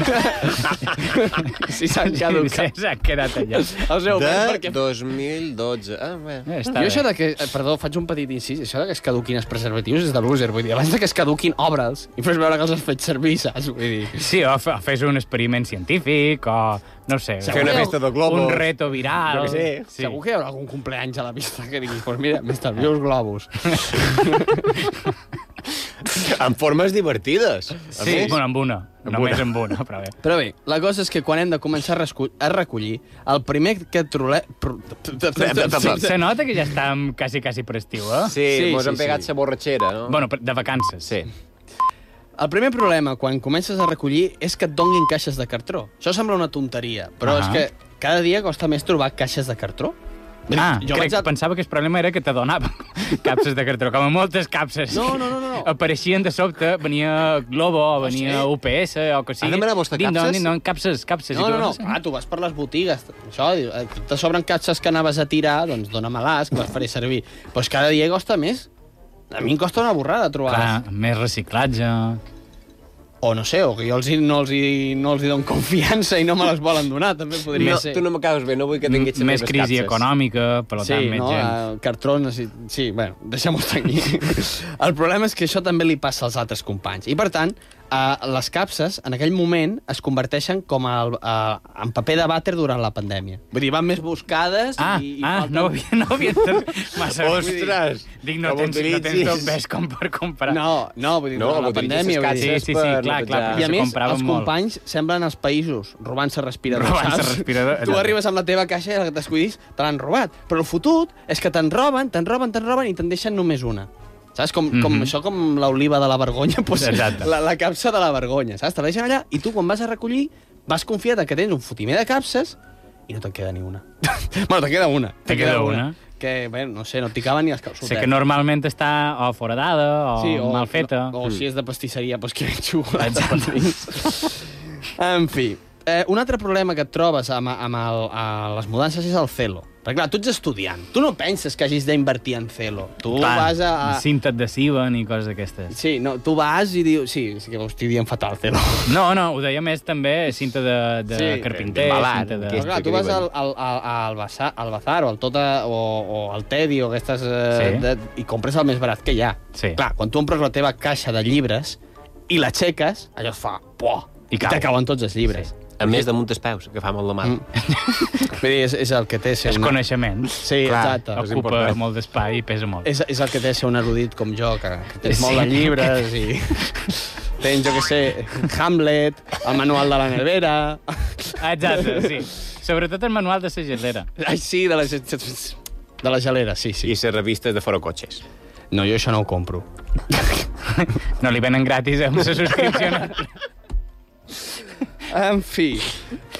S7: si s'han caducat.
S6: S'ha quedat allà.
S7: Els heu vist
S4: De
S7: perquè...
S4: 2012. Ah, bé.
S6: Eh, Està
S7: Jo
S6: bé.
S7: això de que... eh, Perdó, faig un petit incís. Això de que es caduquin els preservatius és de loser. Vull dir, abans de que es caduquin, obres i fes veure que els has fet servir, saps? Vull dir...
S6: Sí, o, fe- o fes un experiment científic, o... No ho sé.
S4: Fer una festa de globos.
S6: Un reto viral.
S7: Jo què sé, sí. Segur que hi haurà algun compleanys a la vista que diguis, pues mira, m'estalvio els globus.
S4: En formes divertides.
S6: Sí, bueno, amb una. Només amb una, però bé.
S7: Però bé, la cosa és que quan hem de començar a, rescu- a recollir, el primer que trole... pro-
S6: Se- Se nota que ja estem quasi, quasi prestiu, eh?
S7: Sí, Sí, mos sí, han pegat sí.
S4: sa borratxera, no?
S6: Bueno, de vacances. Sí.
S7: El primer problema quan comences a recollir és que et donguin caixes de cartró. Això sembla una tonteria, però
S6: Ah.
S7: és que cada dia costa més trobar caixes de cartró.
S6: Ah,
S7: jo
S6: jo crec,
S7: vaig a-
S6: pensava que el problema era que te donava capses de cartró, com a moltes capses.
S7: No, no, no, Ah, no, no.
S6: Apareixien de sobte, venia Globo, venia UPS o que sigui.
S7: Ara m'agrada vostè
S6: Ding dong,
S7: capses?
S6: ding dong, capses, capses.
S7: No,
S6: I
S7: no,
S6: tu, eh?
S7: no. Ah, tu vas per les botigues. Això, diu, eh, te sobren capses que anaves a tirar, doncs dóna-me-les, que les faré servir. Però és que cada dia costa més. A mi em costa una borrada trobar-les.
S6: Clar, més reciclatge...
S7: O no sé, o que jo els, hi- no, els hi, no els hi dono confiança i no me les volen donar, també podria
S4: No,
S7: ser.
S4: tu no m'acabes bé, no vull que tinguis
S6: més
S4: seves
S6: crisi
S4: capses.
S6: econòmica, per
S7: sí,
S6: tant, més
S7: no, eh,
S6: gent.
S7: el cartró necessit... Sí, bueno, deixem-ho estar aquí. el problema és que això també li passa als altres companys. I, per tant, eh, les capses, en aquell moment, es converteixen com el, eh, en paper de vàter durant la pandèmia. Vull dir, van més buscades
S6: Ah,
S7: i... i
S6: ah
S7: falten-
S6: no ho havia, no ho havia entès. Massa bé.
S7: Ostres,
S6: Dic, no
S7: com
S6: tens, no tens
S7: utilitzis.
S6: tot ves com per comparar.
S7: No, no, vull dir, durant la pandèmia... vull dir.
S6: Sí, sí, sí, clar, clar.
S7: I a
S6: s'ho
S7: més,
S6: compraven
S7: els
S6: molt.
S7: companys semblen els països, robant-se respiradors.
S6: Robant-se
S7: saps?
S6: respirador,
S7: Tu
S6: allò.
S7: arribes amb la teva caixa i el que t'escollis te l'han robat. Però el fotut és que te'n roben, te'n roben, te'n roben i te'n deixen només una. Saps? Com, com
S6: Mhm.
S7: això, com l'oliva de la vergonya, doncs,
S6: Exacte.
S7: la, la capsa de la vergonya, saps? Te la deixen allà i tu, quan vas a recollir, vas confiat en que tens un fotimer de capses i no te'n queda ni una. bueno, te'n queda una.
S6: Te queda una.
S7: Que, bé, no sé, no et picaven ni els calçotets.
S6: Sé que normalment està o foradada o,
S7: Sí, o-
S6: mal feta. Mm.
S7: o si és de pastisseria, doncs que ben xocolata. en fi, eh, un altre problema que et trobes amb, amb el, a les mudances és el celo. Perquè, clar, tu ets estudiant. Tu no penses que hagis d'invertir en celo. Tu
S6: Clar,
S7: vas a... a...
S6: Ah, Cinta adhesiva ni coses d'aquestes.
S7: Sí, no, tu vas i dius... Sí, sí que ho estic dient fatal, celo.
S6: No, no, ho deia més també cinta de, de carpinter, cinta de...
S7: Però, clar, tu vas al, al, al, al, bazar, al bazar o al Tota o, o al Teddy o aquestes... Eh,
S6: Sí.
S7: sí. de, I compres el més barat que hi ha.
S6: Sí.
S7: Clar, quan tu compres la teva caixa de llibres i l'aixeques, allò es fa... Puah, I,
S4: cau.
S7: te cauen tots els llibres. Sí.
S4: A més, damunt dels peus, que fa molt de mal. Mm.
S7: Vull dir, és, és el que té ser...
S6: És
S7: una-
S6: coneixement.
S7: Sí, exacte. És
S6: Ocupa
S7: important.
S6: molt d'espai i pesa molt.
S7: És, és el que té ser un erudit com jo, que, que tens
S6: Sí.
S7: sí. molt de llibres i... Tens, jo què sé, Hamlet, el manual de la nevera...
S6: Exacte, sí. Sobretot el manual de la gelera.
S7: Ai, sí, de la, ge- de la gelera, sí, sí.
S4: I les revistes de forocotxes.
S7: No, jo això no ho compro.
S6: No li venen gratis amb la subscripció.
S7: En fi,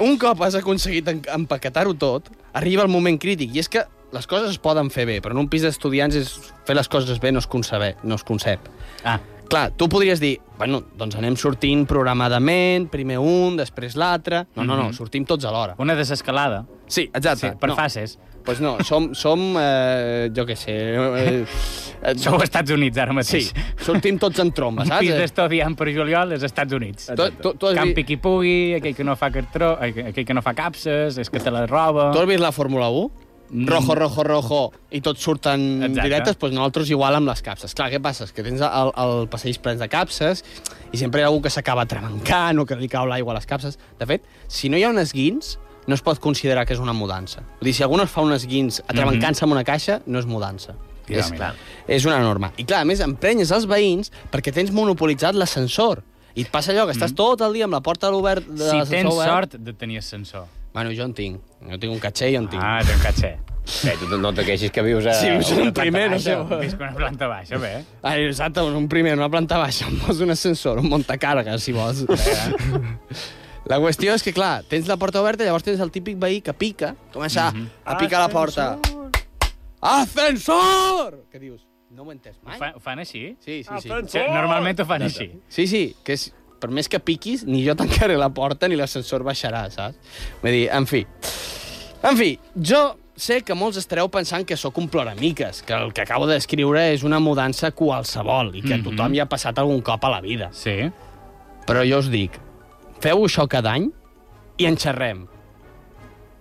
S7: un cop has aconseguit en- empaquetar-ho tot, arriba el moment crític, i és que les coses es poden fer bé, però en un pis d'estudiants és fer les coses bé no es concebe, no es concep.
S6: Ah.
S7: Clar, tu podries dir, bueno, doncs anem sortint programadament, primer un, després l'altre... No, no, no,
S6: Mhm.
S7: sortim tots alhora.
S6: Una desescalada.
S7: Sí, exacte.
S6: Sí, per
S7: no.
S6: fases.
S7: Doncs pues no, som, som eh, jo què sé... Eh, eh,
S6: Sou als Estats Units ara mateix.
S7: Sí, sortim tots en tromba,
S6: Un
S7: saps?
S6: pis d'estudiant per juliol és Estats Units.
S7: Tu- tu- tu has
S6: Campi
S7: vist-
S6: qui pugui, aquell que no fa cartró, ai, aquell que no fa capses, és que te la roba...
S7: Tu has vist la Fórmula 1? Rojo, rojo, rojo, i tots surten
S6: Mm. Exacte.
S7: Exacte. directes, doncs nosaltres igual amb les capses. Clar, què passa? És que tens el, el passeig plens de capses i sempre hi ha algú que s'acaba tremencant o que li cau l'aigua a les capses. De fet, si no hi ha un esguins, no es pot considerar que és una mudança. Vull dir, si algú no es fa un esguins atremencant-se amb una caixa, no és mudança.
S6: Tira,
S7: és,
S6: Mhm. mira.
S7: és una norma. I clar, a més, emprenyes els veïns perquè tens monopolitzat l'ascensor. I et passa allò que estàs tot el dia amb la porta obert de
S6: Mhm. Si
S7: l'ascensor
S6: tens
S7: obert.
S6: sort de tenir ascensor.
S7: Bueno, jo en tinc. Jo tinc un catxer i en tinc.
S6: Ah, té un catxer.
S4: Bé, tu no te queixis que vius a...
S7: Si vius en
S4: una
S7: un
S4: planta
S7: primer, no
S4: baixa.
S7: sé.
S6: Visc una planta baixa, bé.
S7: Ai, exacte, doncs un primer, una planta baixa, em vols un ascensor, un montacarga, si vols. La qüestió és que, clar, tens la porta oberta, llavors tens el típic veí que pica, comença
S4: Mhm.
S7: mm -hmm. a picar a la porta. Ascensor! Què dius? No ho he entès
S6: Ho,
S7: mai.
S6: fa, ho fan així?
S7: Sí, sí, sí.
S6: Sí, Normalment ho fan així.
S7: Sí, sí, que és, per més que piquis, ni jo tancaré la porta ni l'ascensor baixarà, saps? Vull dir, en fi. En fi, jo sé que molts estareu pensant que sóc un ploramiques, que el que acabo de descriure és una mudança qualsevol i que mm -hmm. tothom hi ha passat algun cop a la vida.
S6: Sí.
S7: Però jo us dic, feu això cada any i en xerrem.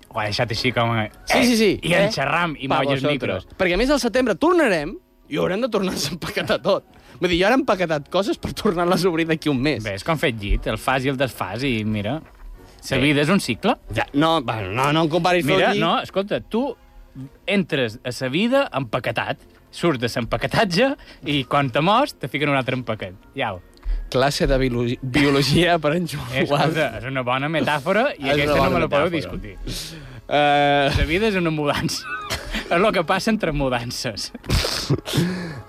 S6: Ho ha deixat així com... a- eh?
S7: Sí, sí, sí.
S6: I en xerram, i
S7: Pa
S6: moll els
S7: vosaltres.
S6: micros.
S7: Perquè a més al setembre tornarem i haurem de tornar-se a empaquetar tot. Vull dir, jo ara he empaquetat coses per tornar-les a obrir d'aquí un mes.
S6: Bé, és com fet llit, el fas i el desfas, i mira... La vida és un cicle.
S7: Ja, no, bueno, no, no em comparis
S6: Mira,
S7: tot llit.
S6: no, escolta, tu entres a la vida empaquetat,
S14: surts de l'empaquetatge i quan te mors te fiquen un altre empaquet. Iau.
S7: Classe de biologi- biologia per en Joan Gual.
S14: Eh, Escolta, és una bona metàfora i
S7: És
S14: aquesta no
S7: una
S14: me
S7: bona
S14: la podeu
S7: metàfora.
S14: discutir.
S7: Eh,
S14: Uh... La vida és una mudança. és el que passa entre mudances.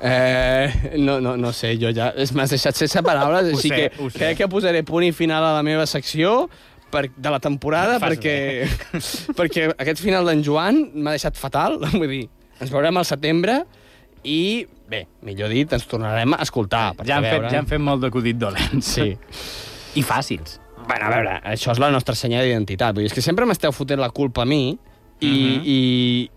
S7: Eh, no, no, no sé, jo ja... és- M'has deixat sense paraules,
S14: Ho
S7: així
S14: sé,
S7: que
S14: ho sé.
S7: crec que posaré punt i final a la meva secció per, de la temporada,
S14: Fas
S7: perquè,
S14: eh?
S7: perquè aquest final d'en Joan m'ha deixat fatal. Vull dir, ens veurem al setembre i, bé, millor dit, ens tornarem a escoltar. Per
S14: Ja han, fet,
S7: veure.
S14: ja han fet molt d'acudit dolents.
S7: Sí.
S14: I fàcils.
S7: Bueno, a veure, això és la nostra senya d'identitat. Vull dir, és que sempre m'esteu fotent la culpa a mi i, mm -hmm. i,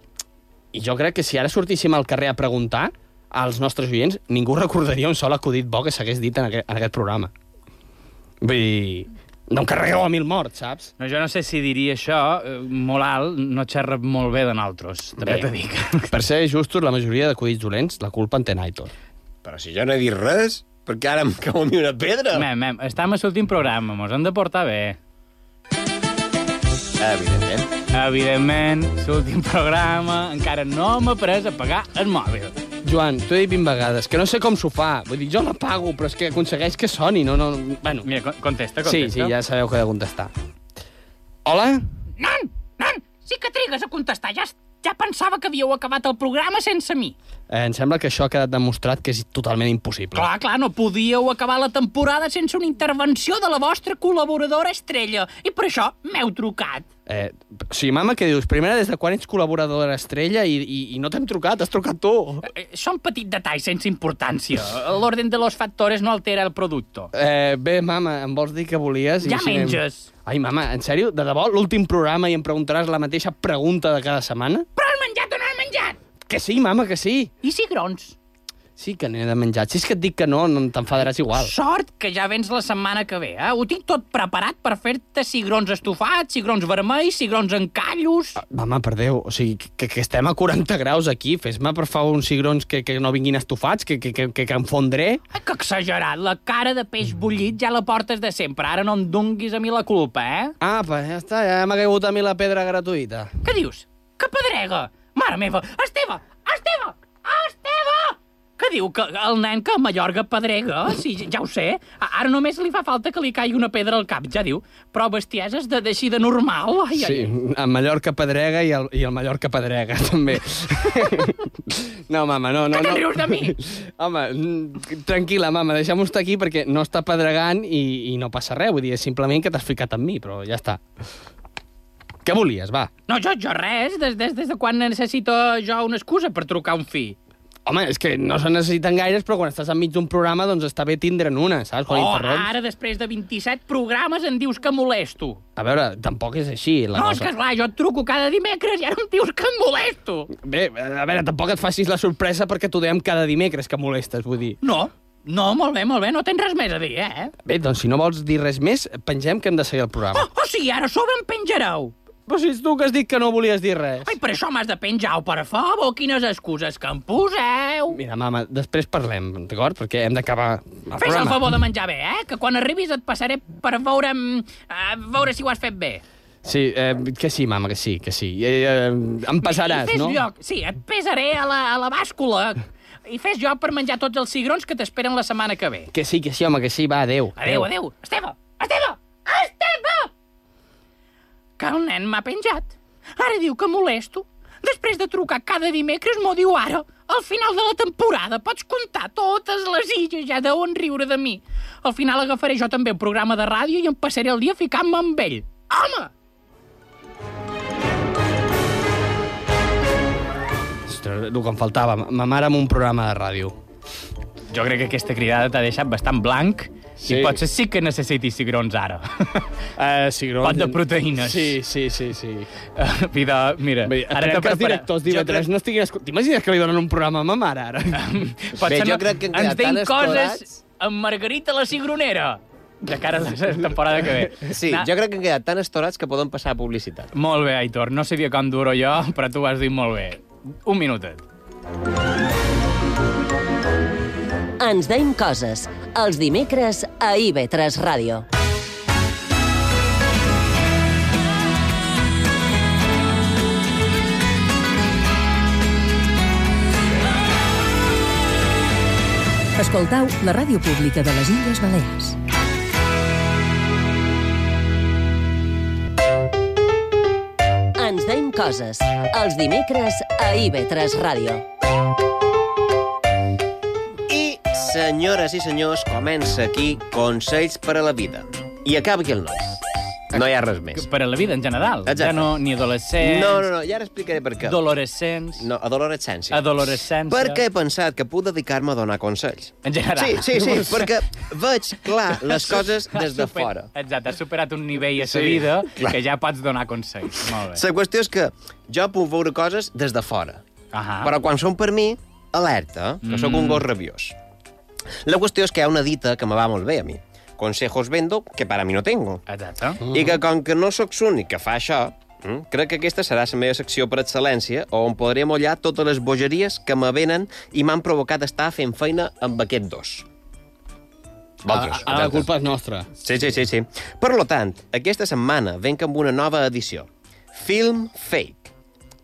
S7: i jo crec que si ara sortíssim al carrer a preguntar als nostres oients, ningú recordaria un sol acudit bo que s'hagués dit en aquest, en aquest programa. Vull dir, no em carregueu a mil morts, saps?
S14: No, jo no sé si diria això, eh, molt alt, no xerra molt bé de nosaltres, també
S7: Bé.
S14: t'ho dic.
S7: Per ser justos, la majoria d'acudits dolents, la culpa en té Naitor.
S4: Però si jo no he dit res, perquè ara em cau a mi una pedra.
S14: Mem, mem, estem a l'últim programa, mos hem de portar bé.
S4: Ah, Evidentment.
S14: Evidentment, l'últim programa, encara no m'ha pres a pagar el mòbil.
S7: Joan, t'ho he dit 20 vegades, que no sé com s'ho fa. Vull dir, jo la pago, però és que aconsegueix que soni, no... Ah, no bueno.
S14: Mira, con- contesta,
S7: Sí,
S14: contesta.
S7: sí, ja sabeu que he de contestar. Hola?
S6: Sí que trigues a contestar. Ja, es- ja pensava que havíeu acabat el programa sense mi.
S7: Eh, em sembla que això ha quedat demostrat que és totalment impossible.
S6: Clar, clar, no podíeu acabar la temporada sense una intervenció de la vostra col·laboradora estrella. I per això m'heu trucat.
S7: Eh, o sigui, mama, què dius? Primera, des de quan ets col·laboradora estrella i, i, i no t'hem trucat, has trucat tu.
S6: Eh, Són petits detalls sense importància. L'orden de los factores no altera el producte.
S7: Eh, bé, mama, em vols dir que volies? i
S6: Ja
S7: així anem.
S6: menges.
S7: Ai, mama, en sèrio? De debò, l'últim programa i em preguntaràs la mateixa pregunta de cada setmana?
S6: Però has menjat o no has menjat?
S7: Que sí, mama, que sí.
S6: I cigrons?
S7: Sí que n'he de menjar. Si és que et dic que no, no t'enfadaràs igual.
S6: Sort que ja vens la setmana que ve, eh? Ho tinc tot preparat per fer-te cigrons estofats, cigrons vermells, cigrons en callos...
S7: Mama, per Déu, o sigui, que, que estem a 40 graus aquí. Fes-me, per favor, uns cigrons que, que no vinguin estofats, que, que, que, que, que em fondré.
S6: Ai, Ah, que exagerat, la cara de peix bullit ja la portes de sempre. Ara no em donguis a mi la culpa, eh?
S7: Ah, pues ja està, ja m'ha caigut a mi la pedra gratuïta.
S6: Què dius? Que pedrega! Mare meva! Esteve! Esteve! Esteve! Què diu? Que el nen que a Mallorca pedrega? Sí, ja ho sé. A- Ara només li fa falta que li caigui una pedra al cap, ja diu. Però bestieses de d'així de normal. Ai,
S7: Sí,
S6: ai.
S7: el Mallorca pedrega i el, i el Mallorca pedrega, també. no, mama, no, no.
S6: Que te'n
S7: no.
S6: rius de mi?
S7: Home, mm, tranquil·la, mama, deixem-ho estar aquí perquè no està pedregant i, i no passa res. Vull dir, és simplement que t'has ficat amb mi, però ja està. Què volies, va?
S6: No, jo, jo res. Des, des, des de quan necessito jo una excusa per trucar un fi?
S7: Home, és que no se necessiten gaires, però quan estàs enmig d'un programa, doncs està bé tindre'n una, saps? Quan
S6: Oh,
S7: interromps.
S6: ara, després de 27 programes, em dius que molesto.
S7: A veure, tampoc és així, la
S6: no, és
S7: cosa.
S6: que esclar, jo et truco cada dimecres i ara em dius que em molesto.
S7: Bé, a veure, tampoc et facis la sorpresa perquè t'ho dèiem cada dimecres que molestes, vull dir.
S6: No, no, molt bé, molt bé, no tens res més a dir, eh?
S7: Bé, doncs si no vols dir res més, pengem que hem de seguir el programa.
S6: Oh, o sigui, ara a sobre em penjareu.
S7: Però si ets tu que has dit que no volies dir res.
S6: Ai, per això m'has de penjar, oh, per favor, quines excuses que em poseu.
S7: Mira, mama, després parlem, d'acord? Perquè hem d'acabar el
S6: Fes el
S7: programa.
S6: favor de menjar bé, eh? Que quan arribis et passaré per veure, mm, a veure si ho has fet bé.
S7: Sí, eh, que sí, mama, que sí, que sí. Eh, eh, em
S6: I
S7: pesaràs,
S6: fes
S7: no?
S6: lloc, sí, et pesaré a la, a la bàscula. I fes lloc per menjar tots els cigrons que t'esperen la setmana que ve.
S7: Que sí, que sí, home, que sí, va, adeu.
S6: Adéu, adéu. Esteve, Esteve, Esteve! Que el nen m'ha penjat. Ara diu que molesto. Després de trucar cada dimecres, m'ho diu ara. Al final de la temporada pots comptar totes les illes, ja deuen riure de mi. Al final agafaré jo també un programa de ràdio i em passaré el dia ficant-me amb ell. Home!
S7: Ostres, el que em faltava, ma mare amb un programa de ràdio.
S14: Jo crec que aquesta cridada t'ha deixat bastant blanc sí. i potser sí que necessitis cigrons ara.
S7: Uh, cigrons...
S14: Pot de proteïnes.
S7: Sí, sí, sí, sí.
S14: Uh, vida, mira,
S7: Bé,
S14: ara t'ha
S7: que els
S14: preparat.
S7: directors d'IV3 crec... no estiguin... escol- T'imagines que li donen un programa a ma mare, ara?
S14: Potser
S7: Bé, jo
S14: no-
S7: crec que han
S14: ens
S7: quedat
S14: deien
S7: tan
S14: coses
S7: estorats.
S6: amb Margarita la cigronera.
S14: de cara a la temporada que ve.
S4: Sí,
S14: Na-
S4: jo crec que han quedat tan estorats que poden passar a publicitat.
S14: Molt bé, Aitor. No sabia com duro jo, però tu ho has dit molt bé. Un minutet.
S9: Ens deim coses. Els dimecres a IB3 Ràdio.
S15: Thank
S2: Escoltau la ràdio pública de les Illes Balears.
S3: Ens deim coses. Els dimecres a IB3 Ràdio.
S4: I, senyores i senyors, comença aquí Consells per a la vida. I acaba aquí el noi. No hi ha res més.
S6: Per a la vida en general.
S4: Exacte.
S6: Ja no, ni adolescents...
S4: No, no, no, ja ara explicaré per què.
S6: Adolescents.
S4: No, adolescència.
S6: Adolescència.
S4: Perquè he pensat que puc dedicar-me a donar consells.
S6: En general.
S4: Sí, sí, sí,
S6: No sé.
S4: perquè veig clar les coses des de
S6: Has super-
S4: fora.
S6: Exacte, has superat un nivell a sa
S4: Sí,
S6: vida
S4: clar.
S6: que ja pots donar consells. Molt bé.
S4: La qüestió és que jo puc veure coses des de fora.
S6: Ahà.
S4: Però quan són per mi, alerta, que sóc un
S6: Ah. Mm.
S4: gos rabiós. La qüestió és que hi ha una dita que me va molt bé a mi. Consejos vendo que para mi no tengo.
S6: Exacte.
S4: I que com que no sóc l'únic que fa això, mm, crec que aquesta serà la meva secció per excel·lència, on podré mollar totes les bogeries que me venen i m'han provocat estar fent feina amb aquest dos. Vosaltres.
S7: Ah, ah, la culpa és nostra.
S4: Sí, sí, sí, sí. Per lo tant, aquesta setmana venc amb una nova edició. Film Fake.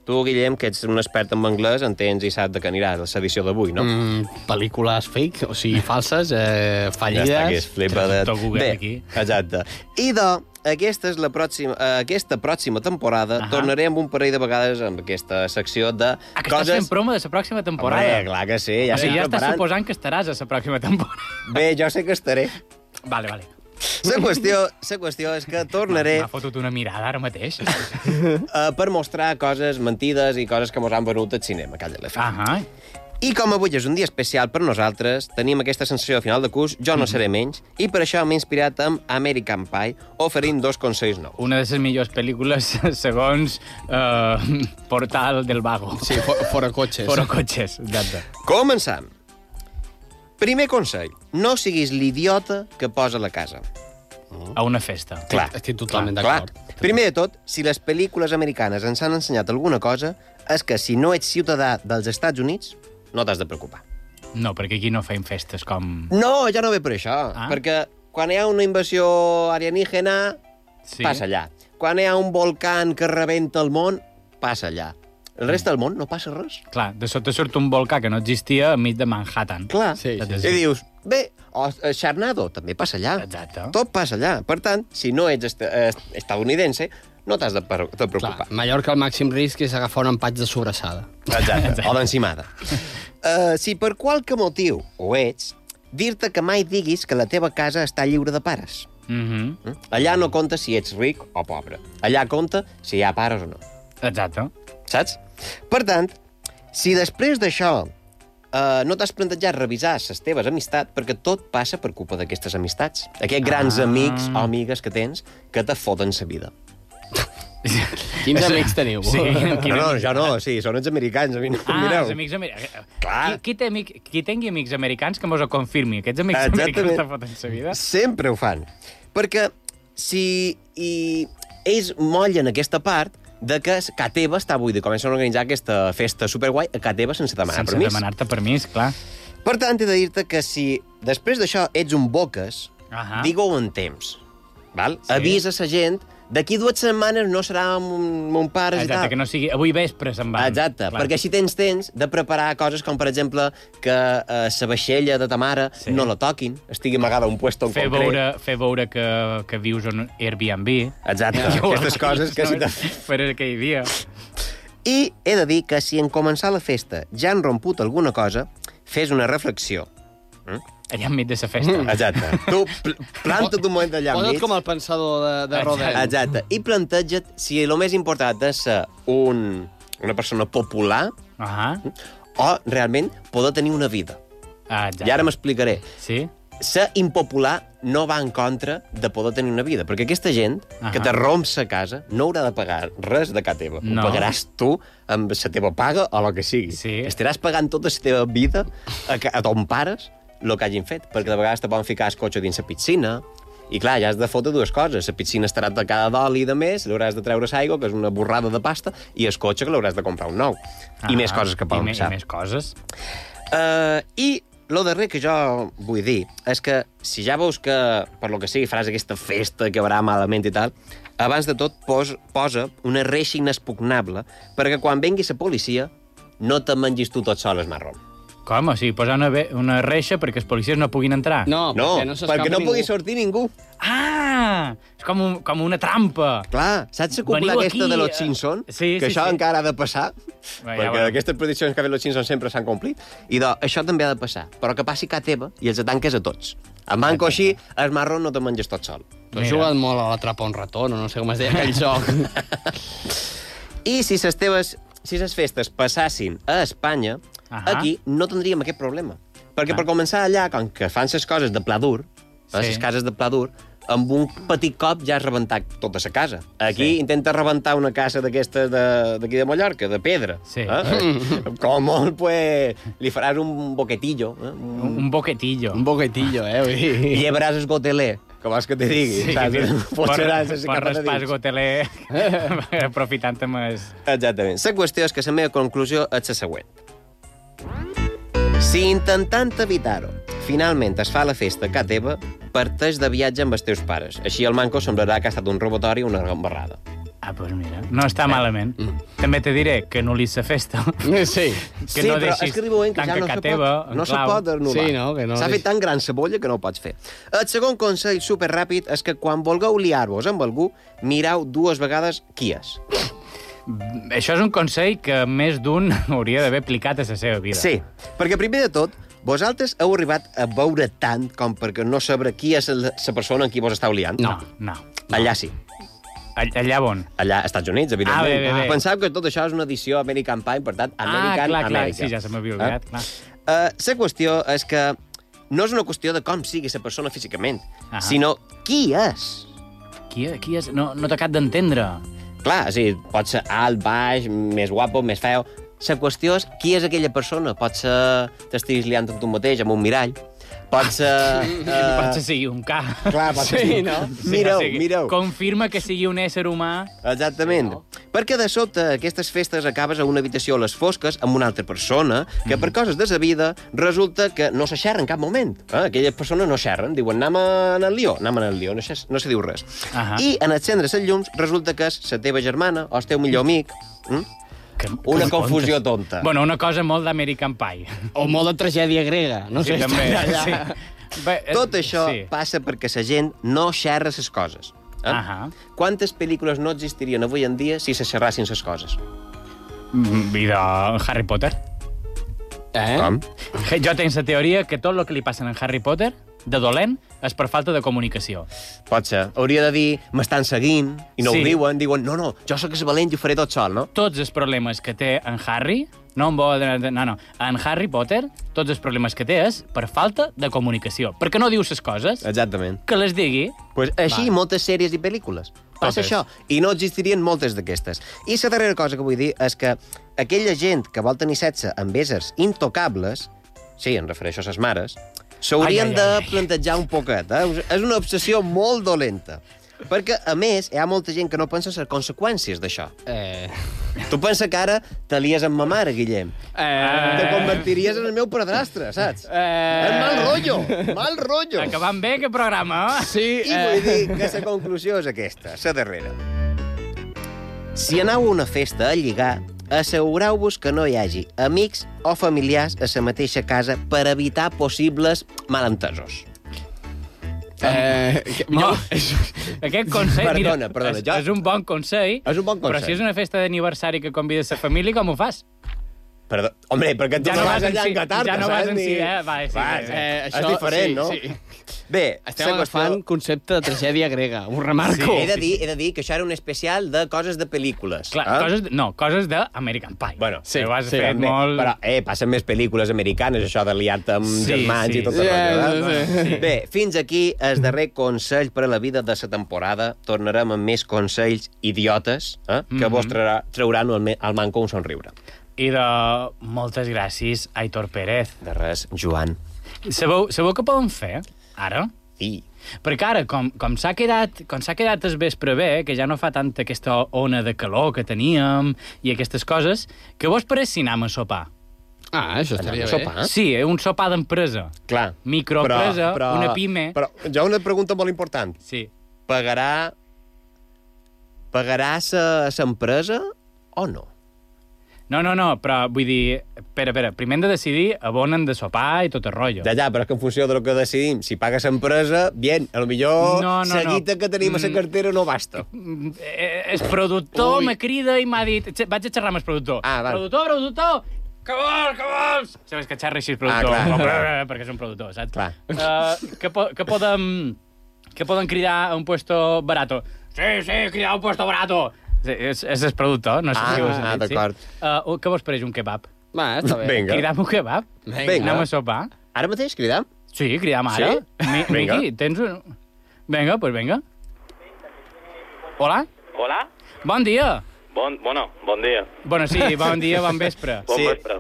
S4: Tu, Guillem, que ets un expert en anglès, entens i saps de què aniràs a l'edició d'avui, no?
S7: Mm, pel·lícules fake, o sigui, falses, eh, fallides...
S4: Ja està, que és flipa de... Bé,
S7: aquí.
S4: exacte. Idò, aquesta és la pròxima, eh, aquesta pròxima temporada uh -huh. tornaré amb un parell de vegades amb aquesta secció de
S6: Ah, que
S4: coses...
S6: estàs fent promo de la pròxima temporada.
S4: Home, clar que sí, ja
S6: O
S4: estic
S6: sigui, ja estàs
S4: preparant.
S6: suposant que estaràs a la pròxima temporada.
S4: Bé, jo sé que estaré.
S6: Vale, vale.
S4: La qüestió, la qüestió és que tornaré...
S6: M'ha fotut una mirada ara mateix.
S4: uh, per mostrar coses, mentides i coses que mos han venut al cinema, calla la
S6: Ah, ah.
S4: I com avui és un dia especial per nosaltres, tenim aquesta sensació de final de curs, jo no seré menys, i per això m'he inspirat amb American Pie, oferint dos consells nous.
S6: Una de les millors pel·lícules segons eh, Portal del Vago.
S7: Sí, fora cotxes.
S6: Fora cotxes, exacte.
S4: Començam! Primer consell, no siguis l'idiota que posa la casa.
S6: A una festa.
S4: Clar.
S7: Estic totalment
S4: Clar.
S7: d'acord.
S4: Primer de tot, si les pel·lícules americanes ens han ensenyat alguna cosa, és que si no ets ciutadà dels Estats Units, no t'has de preocupar.
S6: No, perquè aquí no feim festes com...
S4: No, ja no ve per això, ah? perquè quan hi ha una invasió alienígena,
S6: sí.
S4: passa allà. Quan hi ha un volcán que rebenta el món, passa allà. El rest del món no passa res.
S6: Clar, de sota surt un volcà que no existia enmig de Manhattan.
S4: Clar.
S7: Sí,
S4: I dius, bé, o eh, Sharnado també passa allà.
S6: Exacte.
S4: Tot passa allà. Per tant, si no ets est est estadounidense, no t'has de, per- de preocupar.
S7: Mallorca el màxim risc és agafar un empatx de sobrassada.
S4: Exacte. O d'encimada. Uh, si per qualque motiu ho ets, dir-te que mai diguis que la teva casa està lliure de pares.
S6: Mhm.
S4: Mm? Allà no compta si ets ric o pobre. Allà compta si hi ha pares o no.
S6: Exacte.
S4: Saps? Per tant, si després d'això eh, no t'has plantejat revisar les teves amistats, perquè tot passa per culpa d'aquestes amistats. Aquests grans
S6: Ah.
S4: amics o amigues que tens que te foten sa vida.
S7: Quins amics teniu?
S6: Sí, quin
S4: no, no,
S6: amic?
S4: jo no, sí, són els americans, a mi no em
S6: Ah,
S4: mireu.
S6: els amics americans. Qui, qui, té amic, qui tingui amics americans que mos ho confirmi. Aquests amics
S4: Exactament.
S6: americans te foten sa vida.
S4: Sempre ho fan. Perquè si i ells mollen aquesta part de que a ca teva està buida, comencen a organitzar aquesta festa superguai a ca teva sense demanar
S6: Sense
S4: permís.
S6: demanar-te permís, clar.
S4: Per tant, he de dir-te que si després d'això ets un boques,
S6: Ahà.
S4: digue-ho en temps. Val? Sí. Avisa sa gent, d'aquí dues setmanes no serà amb un, mon pare i
S6: Exacte,
S4: tal.
S6: que no sigui... Avui vespre se'n van.
S4: Exacte, Clar. perquè així tens temps de preparar coses com, per exemple, que eh, sa vaixella de ta mare sí. no la toquin, estigui amagada a un puesto en
S6: Fer
S4: concret.
S6: veure, fer veure que, que vius en Airbnb.
S4: Exacte, aquestes coses que si te...
S6: Per aquell dia.
S4: I he de dir que si en començar la festa ja han romput alguna cosa, fes una reflexió.
S6: Allà enmig de la festa.
S4: Mm, Exacte. Tu pl planta't un moment allà
S7: Posa't
S4: enmig.
S7: com el pensador de, de Rodel.
S4: Exacte. I planteja't si el més important és ser un, una persona popular
S6: uh -huh.
S4: o realment poder tenir una vida.
S6: Ah,
S4: I ara m'explicaré.
S6: Sí?
S4: Ser impopular no va en contra de poder tenir una vida, perquè aquesta gent
S6: Ahà.
S4: que te romps a casa no haurà de pagar res de ca teva.
S6: No.
S4: Ho pagaràs tu amb la teva paga o el que sigui. Sí. Estaràs pagant tota la teva vida a, ca- a ton pares el que hagin fet, perquè de vegades te poden ficar el cotxe dins la piscina, i clar, ja has de fotre dues coses. La piscina estarà tacada d'oli i de més, l'hauràs de treure l'aigua, que és una borrada de pasta, i el cotxe, que l'hauràs de comprar un nou. Ah, I més coses que
S6: I
S4: poden
S6: me-
S4: passar.
S6: I més coses.
S4: Uh, I lo darrer que jo vull dir és que si ja veus que, per lo que sigui, faràs aquesta festa que haurà malament i tal, abans de tot pos, posa una reixa inexpugnable perquè quan vengui la policia no te mengis tu tot sol el marró.
S6: Com? O sigui, posar una, ve- una reixa perquè els policies no puguin entrar?
S7: No,
S4: No, perquè no s'escapa perquè no pugui ningú.
S6: sortir ningú. Ah! És com, un, com una trampa.
S4: Clar, saps la cúpula
S6: Veniu
S4: aquesta
S6: aquí,
S4: de
S6: eh,
S4: los Simpson?
S6: Sí,
S4: que
S6: sí,
S4: això
S6: sí.
S4: encara ha de passar,
S6: ja
S4: perquè
S6: veurem.
S4: aquestes prediccions que ha fet los Simpson sempre s'han complit. I doncs, això també ha de passar, però que passi que a teva i els atanques a tots. En manco així, el marró no te menges tot sol.
S7: Tu has jugat molt a l'atrapa un raton, o no sé com es deia aquell joc.
S4: I si les teves si les festes passassin a Espanya,
S7: Ahà.
S4: aquí no tindríem aquest problema. Perquè per començar allà, com que fan les coses de pla dur,
S7: Sí.
S4: les cases de pla dur, amb un petit cop ja has rebentat tota la casa. Aquí sí. intenta rebentar una casa d'aquestes de- d'aquí de, de Mallorca, de pedra. Sí. Eh? Com molt, pues, li faràs un boquetillo. Eh? Un,
S6: un boquetillo.
S4: Un
S7: boquetillo, eh? I
S4: llevaràs el gotelé, que vols que te digui.
S6: Sí,
S4: saps? Potseràs
S6: per,
S4: ese
S6: per
S4: cap de dins.
S6: raspar el goteler, aprofitant més...
S4: Exactament. La qüestió és que la meva conclusió és la següent. Si intentant evitar-ho, finalment es fa la festa a casa teva, parteix de viatge amb els teus pares. Així el manco semblarà que ha estat un robatori o una gambarrada.
S6: Ah, doncs mira, no està malament.
S4: Mm.
S6: També te diré que anul·lis la festa.
S7: Sí.
S6: Que
S4: sí,
S6: no
S4: però
S6: deixis
S4: és que arriba un moment que ja
S6: tancar
S4: no se
S6: ca teva,
S4: pot, no
S6: en
S4: se
S6: clau.
S4: pot anul·lar. S'ha fet tan gran cebolla que no ho pots fer. El segon consell superràpid és que quan vulgueu liar-vos amb algú, mireu dues vegades qui és.
S6: Això és un consell que més d'un hauria d'haver aplicat a la seva vida.
S4: Sí, perquè primer de tot, vosaltres heu arribat a veure tant com perquè no sabrà qui és la la persona amb qui vos estàu liant?
S7: No,
S6: no.
S4: Allà sí.
S6: Allà on?
S4: Allà, als Estats Units, evidentment.
S6: Ah, bé, bé, bé.
S4: Penseu que tot això és una edició American Pie, per tant, American,
S6: ah, clar, clar,
S4: America.
S6: sí, ja se m'havia oblidat, clar.
S4: Eh, la qüestió és que no és una qüestió de com sigui la persona físicament,
S6: Ah.
S4: sinó qui és.
S6: Qui, qui és? No, no t'acab d'entendre.
S4: Clar, sí, pot ser alt, baix, més guapo, més feo... La qüestió és qui és aquella persona. Pot ser t'estiguis liant amb tu mateix, amb un mirall. Pot ser... eh,
S6: Ah, Pot ser sigui un ca.
S4: Clar, pot ser sigui un ca. Mireu, mireu.
S6: Confirma que sigui un ésser humà.
S4: Exactament. Perquè de sobte aquestes festes acabes a una habitació a les fosques amb una altra persona que per coses de sa vida resulta que no se xerra en cap moment. Eh? Aquelles persones no xerren, diuen anem en el lió, anem en el lió, no se, no se diu res.
S6: Ahà.
S4: I en encendre les llums resulta que és la teva germana o el teu millor amic. Mm? Una confusió tonta.
S6: Bueno, una cosa molt d'American Pie.
S7: O molt de tragèdia grega. No
S6: sí,
S7: sé,
S6: també.
S7: està
S6: Sí.
S7: allà.
S6: Bé, eh,
S4: Tot això
S6: sí.
S4: sí. passa perquè la gent no xerra les coses. Eh?
S6: Ahà.
S4: Quantes pel·lícules no existirien avui en dia si se xerrassin les coses?
S6: Mm, I de Harry Potter.
S7: Eh?
S4: Com?
S6: Jo tinc la teoria que tot el que li passa en Harry Potter de dolent és per falta de comunicació.
S4: Pot ser. Hauria de dir, m'estan seguint, i no
S6: Sí.
S4: ho diuen, diuen, no, no, jo sóc el valent i ho faré tot sol, no?
S6: Tots els problemes que té en Harry, no en volen... No, no. En Harry Potter, tots els problemes que té és per falta de comunicació. Perquè no dius les coses,
S4: Exactament.
S6: que les digui...
S4: Pues així, moltes sèries i pel·lícules. Passa
S6: Totes.
S4: això. I no existirien moltes d'aquestes. I la darrera cosa que vull dir és que aquella gent que vol tenir sexe amb éssers intocables, sí, em refereixo a ses mares,
S6: Ai, ai,
S4: s'haurien de
S6: ai, ai.
S4: plantejar un poquet. Eh? És una obsessió molt dolenta. Perquè, a més, hi ha molta gent que no pensa en les conseqüències d'això.
S7: Eh...
S4: Tu pensa que ara te lies amb ma mare, Guillem.
S7: Eh...
S4: Te convertiries en el meu padrastre, saps? Eh... És mal rotllo, mal rotllo.
S6: Acabant bé, aquest programa, eh?
S7: Sí,
S4: I vull dir que la conclusió és aquesta, la darrera. Si aneu a una festa a lligar, assegureu-vos que no hi hagi amics o familiars a la mateixa casa per evitar possibles malentesos.
S7: Eh,
S6: No, aquest consell...
S4: Perdona,
S6: mira,
S4: perdona,
S6: És,
S4: jo-
S6: és un bon consell.
S4: És un bon
S6: Però
S4: consell.
S6: si és una festa d'aniversari que convides la família, com ho fas?
S4: Perdó, hombre, perquè tu
S6: Ja
S4: no,
S6: no
S4: vas
S6: vas en
S4: allà
S6: si-
S4: en Qatar,
S6: ja no vas
S4: saps?
S6: en
S4: Ni-
S6: si, eh? Va, sí,
S4: Va,
S6: sí, sí.
S7: Eh,
S4: és diferent,
S7: sí,
S4: no?
S7: Sí.
S4: Bé,
S7: Estem
S4: la qüestió-
S7: agafant concepte de tragèdia grega, un remarco.
S4: he, de dir, he de dir que això era un especial de coses de pel·lícules.
S6: Clar,
S4: eh?
S6: coses, no, coses d'American Pie.
S4: Bueno,
S6: sí, ho has
S4: sí,
S6: fet
S4: també.
S6: molt...
S4: Però, eh, passen més pel·lícules americanes, això de liat amb
S6: Sí,
S4: sí, germans
S6: sí.
S4: i tot
S6: Ja,
S4: el rotllo.
S6: ja,
S4: eh?
S6: ja, sí.
S4: Bé, fins aquí el darrer consell per a la vida de la temporada. Tornarem amb més consells idiotes eh, que mm
S6: Mhm.
S4: -hmm. vos traurà, trauran al, me- al manco un somriure.
S6: I de... Moltes gràcies, Aitor Pérez.
S4: De res, Joan.
S6: Sabeu, sabeu què poden fer, ara?
S4: Sí.
S6: Perquè ara, com, com s'ha quedat, com s'ha quedat el vespre bé, que ja no fa tanta aquesta ona de calor que teníem i aquestes coses, que vos pareix si anam a sopar?
S7: Ah, això
S4: estaria Anam a bé. sopar?
S6: Sí, eh, un sopar d'empresa.
S4: Clar.
S6: Microempresa, una pime.
S4: Però jo una pregunta molt important.
S6: Sí.
S4: Pagarà... Pagarà l'empresa o no?
S6: No, no, no, però vull dir... Espera, espera, primer hem de decidir a on hem de sopar i tot el rotllo.
S4: Ja, ja, però és que en funció del que decidim, si pagues empresa, bien, a lo millor no,
S6: No, no,
S4: no, la
S6: no.
S4: guita que tenim a la
S6: Mm.
S4: cartera no basta.
S6: Mm, eh, El productor
S4: Ui.
S6: me crida i m'ha dit... "Xe- Vaig a xerrar amb el productor. Ah,
S4: val.
S6: Productor, productor! Que vols, que vols? Sabes que xerra així el productor.
S4: Ah, clar.
S6: clar. Perquè és un productor, saps? Clar. Uh, que, po que podem... Que poden cridar a un puesto barato. Sí, sí, cridar a un puesto barato. Sí, és, és el productor, no sé
S4: Ah,
S6: si ho has
S4: ah,
S6: dit.
S4: d'acord.
S6: Sí? Uh, què vos pareix, un kebab?
S7: Va,
S4: està bé. Vinga.
S6: Cridam un kebab?
S4: Vinga.
S6: Anem a sopar?
S4: Ara mateix cridam?
S6: Sí, cridam ara.
S4: Sí?
S6: Mi
S4: Vinga.
S6: Miqui, tens un... Vinga, doncs pues vinga. Hola?
S16: Hola?
S6: Bon dia.
S16: Bon, bueno, bon dia.
S6: Bueno, sí, bon dia, bon vespre.
S16: Bon sí. vespre.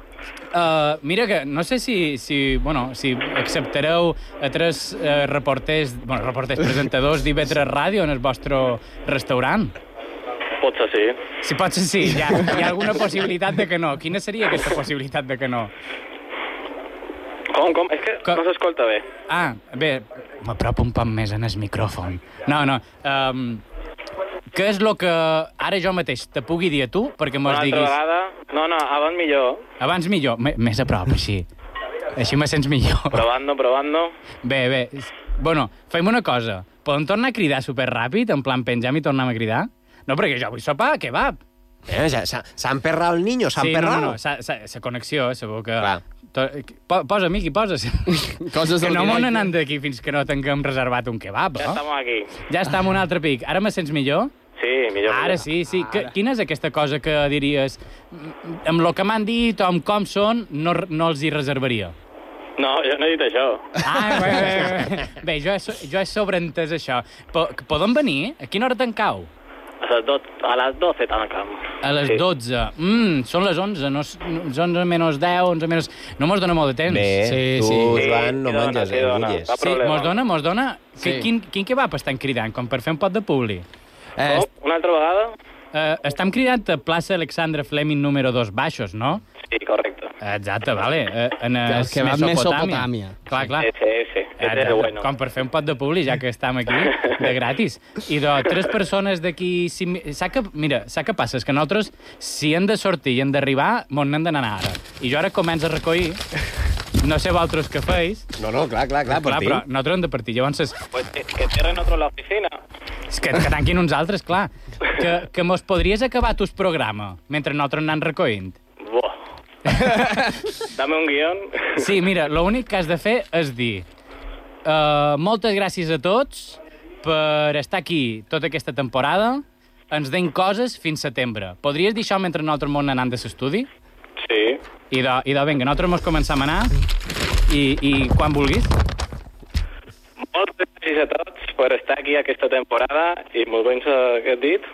S6: Uh, mira que no sé si, si, bueno, si acceptareu a tres uh, reporters, bueno, reporters presentadors d'IV3 Ràdio en el vostre restaurant.
S16: Potser sí.
S6: Si pot ser sí, hi ha, hi ha alguna possibilitat de que no. Quina seria aquesta possibilitat de que no?
S16: Com, com? És que no s'escolta bé.
S6: Ah, bé, m'apropo un pam més en el micròfon. No, no. Um, què és el que ara jo mateix te pugui dir a tu perquè
S16: Una
S6: mos
S16: altra
S6: diguis...
S16: vegada... No, no, abans millor.
S6: Abans millor, m- més a prop, així. Així me sents millor.
S16: Provant-no, provant-no.
S6: Bé, bé. Bueno, fem una cosa. Podem tornar a cridar superràpid, en plan penjam i tornem a cridar? No, perquè jo vull sopar, kebab.
S4: Eh, ja, s'ha- s'ha emperrat el niño, s'ha
S6: sí, no, no,
S4: emperrat.
S6: no, sa, sa, sa connexió, segur que... To- eh, po- Posa, Miqui, posa. que
S7: Coses del
S6: no
S7: directe.
S6: m'han anat d'aquí fins que no tinguem reservat un kebab,
S16: Ja
S6: eh?
S16: estem aquí.
S6: Ja està en un altre pic. Ara me sents millor?
S16: Sí, millor.
S6: Ara
S16: millor.
S6: sí, sí. Que, quina és aquesta cosa que diries... "Mm, Amb el que m'han dit o amb com són, no, no els hi reservaria?
S16: No, jo no he dit això.
S6: Ah, bé, bé, bé. bé jo, he, so- jo he sobreentès això. Po que podem venir? A quina hora tancau?
S16: A les, do... a les 12 tancam.
S6: A les
S16: Sí.
S6: 12. Mm, són les 11, no, s- no- és 11 menys 10, 11 menys... No mos dona molt de temps.
S4: Bé,
S6: sí,
S4: tu,
S6: sí.
S4: Joan, no Sí, què dona, menges, què eh, dona? engulles. Cap
S6: Sí,
S16: problema.
S6: mos dona, mos dona... Sí.
S16: Sí.
S6: Quin, quin kebab estan cridant, com per fer un pot de publi? Eh,
S16: Com? Una altra vegada?
S6: Eh, estem cridant a plaça Alexandre Fleming número 2 Baixos, no?
S16: Sí, correcte.
S6: Exacte, vale. Eh, en
S7: El
S6: es-
S7: kebab
S6: Mesopotàmia.
S7: Mesopotàmia.
S6: Clar, clar.
S16: Sí, sí. Este
S6: Exacte,
S16: és bueno.
S6: Com per fer un pot de publi, ja que estem aquí, de gratis. I de tres persones d'aquí... Si, sap que, mira, sap què passa? És que nosaltres, si hem de sortir i hem d'arribar, mos n'hem d'anar ara. I jo ara començo a recollir... No sé vosaltres què feis.
S4: No, no, clar, clar, clar,
S6: clar
S4: partim.
S6: però nosaltres hem de partir. Llavors, és,
S16: Pues que, que cierren otro la oficina.
S6: és que, que tanquin uns altres, clar. Que, que mos podries acabar tu el programa mentre nosaltres anant recollint?
S16: Buah. Dame un guión.
S6: Sí, mira, l'únic que has de fer és dir uh, moltes gràcies a tots per estar aquí tota aquesta temporada. Ens deim coses fins setembre. Podries dir això mentre nosaltres món anant de l'estudi?
S16: Sí.
S6: I de, i de vinga, nosaltres mos començam a anar i, i quan vulguis.
S16: Moltes gràcies a tots per estar aquí aquesta temporada i molt ben aquest dit.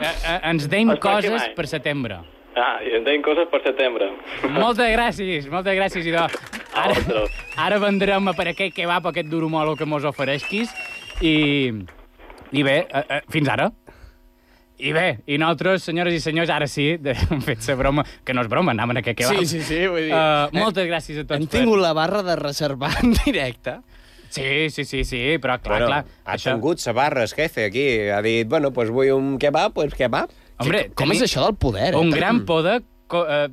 S6: Eh, eh, ens deim
S16: Hasta aquí
S6: coses
S16: mai.
S6: per setembre.
S16: Ah, i entenc coses per setembre.
S6: Moltes gràcies, moltes gràcies, Idò. Ara, ara vendrem per aquest kebab, aquest duro molo que mos ofereixis. I, i bé, eh, eh, fins ara. I bé, i nosaltres, senyores i senyors, ara sí, de- hem fet la broma, que no és broma, anaven a aquest kebab.
S7: Sí, sí, sí, vull dir...
S6: Uh, moltes gràcies a tots.
S7: Eh, Hem tingut la barra de reservar en directe.
S6: Sí, sí, sí, sí, però clar,
S4: Bueno,
S6: clar.
S4: ha tingut sa barra, el jefe, aquí. Ha dit, bueno, pues vull un kebab, pues kebab.
S6: Hombre, tenir
S7: eh?
S6: Un gran poder... Co, eh,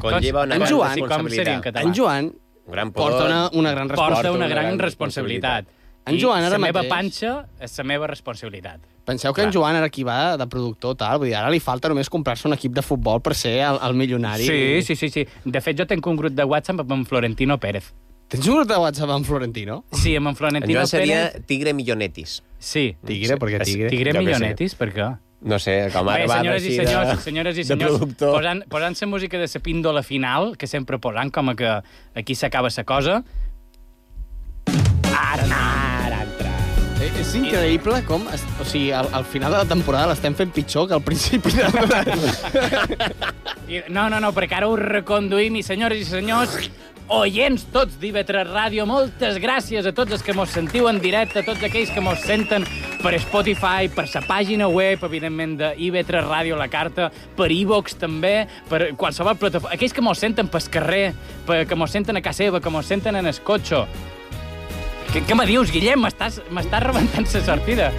S4: Conlleva una
S7: en
S4: gran
S7: Joan,
S6: com seria en català?
S7: en Joan
S4: gran
S7: porta una, una gran resposta.
S6: Porta una gran responsabilitat.
S7: En Joan
S6: I
S7: ara
S6: la meva
S7: mateix-
S6: panxa és la meva responsabilitat.
S7: Penseu que en Joan ara qui va de productor, tal, vull dir, ara li falta només comprar-se un equip de futbol per ser el, el milionari.
S6: Sí, sí, sí, sí. De fet, jo tenc un grup de WhatsApp amb en Florentino Pérez.
S7: Tens un grup de WhatsApp amb Florentino?
S6: Sí, amb en
S4: En
S6: Florentino
S4: Joan seria
S6: Pérez.
S4: Tigre Millonetis.
S6: Sí.
S7: Tigre, perquè tigre.
S6: Tigre
S4: Jo què sé.
S6: Millonetis, per què?
S4: No sé, com ara
S6: Bé,
S4: va
S6: senyores i
S4: així
S6: senyors,
S4: de...
S6: senyores i
S4: de
S6: senyors,
S4: productor.
S6: posant, posant la música de la píndola final, que sempre posant com a que aquí s'acaba la cosa, ara, ara entra.
S7: Eh, És increïble com... es- O sigui, al, al final de la temporada l'estem fent pitjor que al principi de la...
S6: I- No, no, no, perquè ara ho reconduïm i senyores i senyors, oients tots d'IV3 Ràdio, moltes gràcies a tots els que mos sentiu en directe, a tots aquells que mos senten per Spotify, per sa pàgina web, evidentment, de IV3 Ràdio La Carta, per iVox també, per qualsevol plataforma. Aquells que mos senten pel carrer, per, que mos senten a casa seva, que mos senten en el cotxe. Què, què me dius, Guillem? M'estàs m'estàs rebentant la sortida.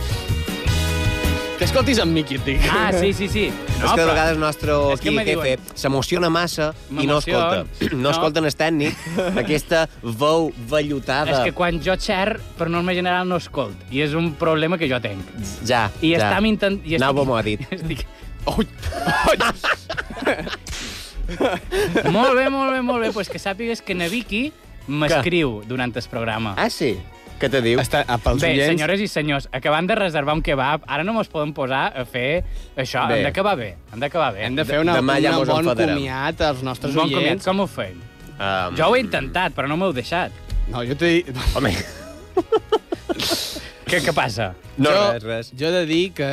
S7: Que escoltis en Miqui, et dic.
S6: Ah, sí, sí, sí.
S4: No, és que de vegades el nostre
S7: És que
S4: aquí,
S7: me
S4: jefe, s'emociona massa i no
S6: M'emociona.
S4: escolta. No,
S6: No.
S4: escolten el tècnic. Aquesta veu vellutada.
S6: És que quan jo xer, per norma general, no escolt. I és un problema que jo tinc.
S4: Ja,
S6: I
S4: ja.
S6: estam intent... I
S4: Nabo m'ho ha dit.
S6: Estic... Ui! molt bé, molt bé, molt bé. Pues que sàpigues que Naviki m'escriu durant el programa.
S4: Ah, sí? Què te diu?
S7: Està, a, pels
S6: Bé,
S7: oients-
S6: senyores i senyors, acabant de reservar un kebab, ara no mos podem posar a fer això.
S7: Bé.
S6: Hem d'acabar bé, hem d'acabar bé.
S7: Hem de fer una, una bon comiat als nostres
S6: Un bon comiat,
S7: oients.
S6: com ho fem? Um... Jo ho he intentat, però no m'heu deixat.
S7: No, jo t'he dit...
S4: Home.
S6: què, què passa?
S7: No, jo, res, res. Jo he de dir que,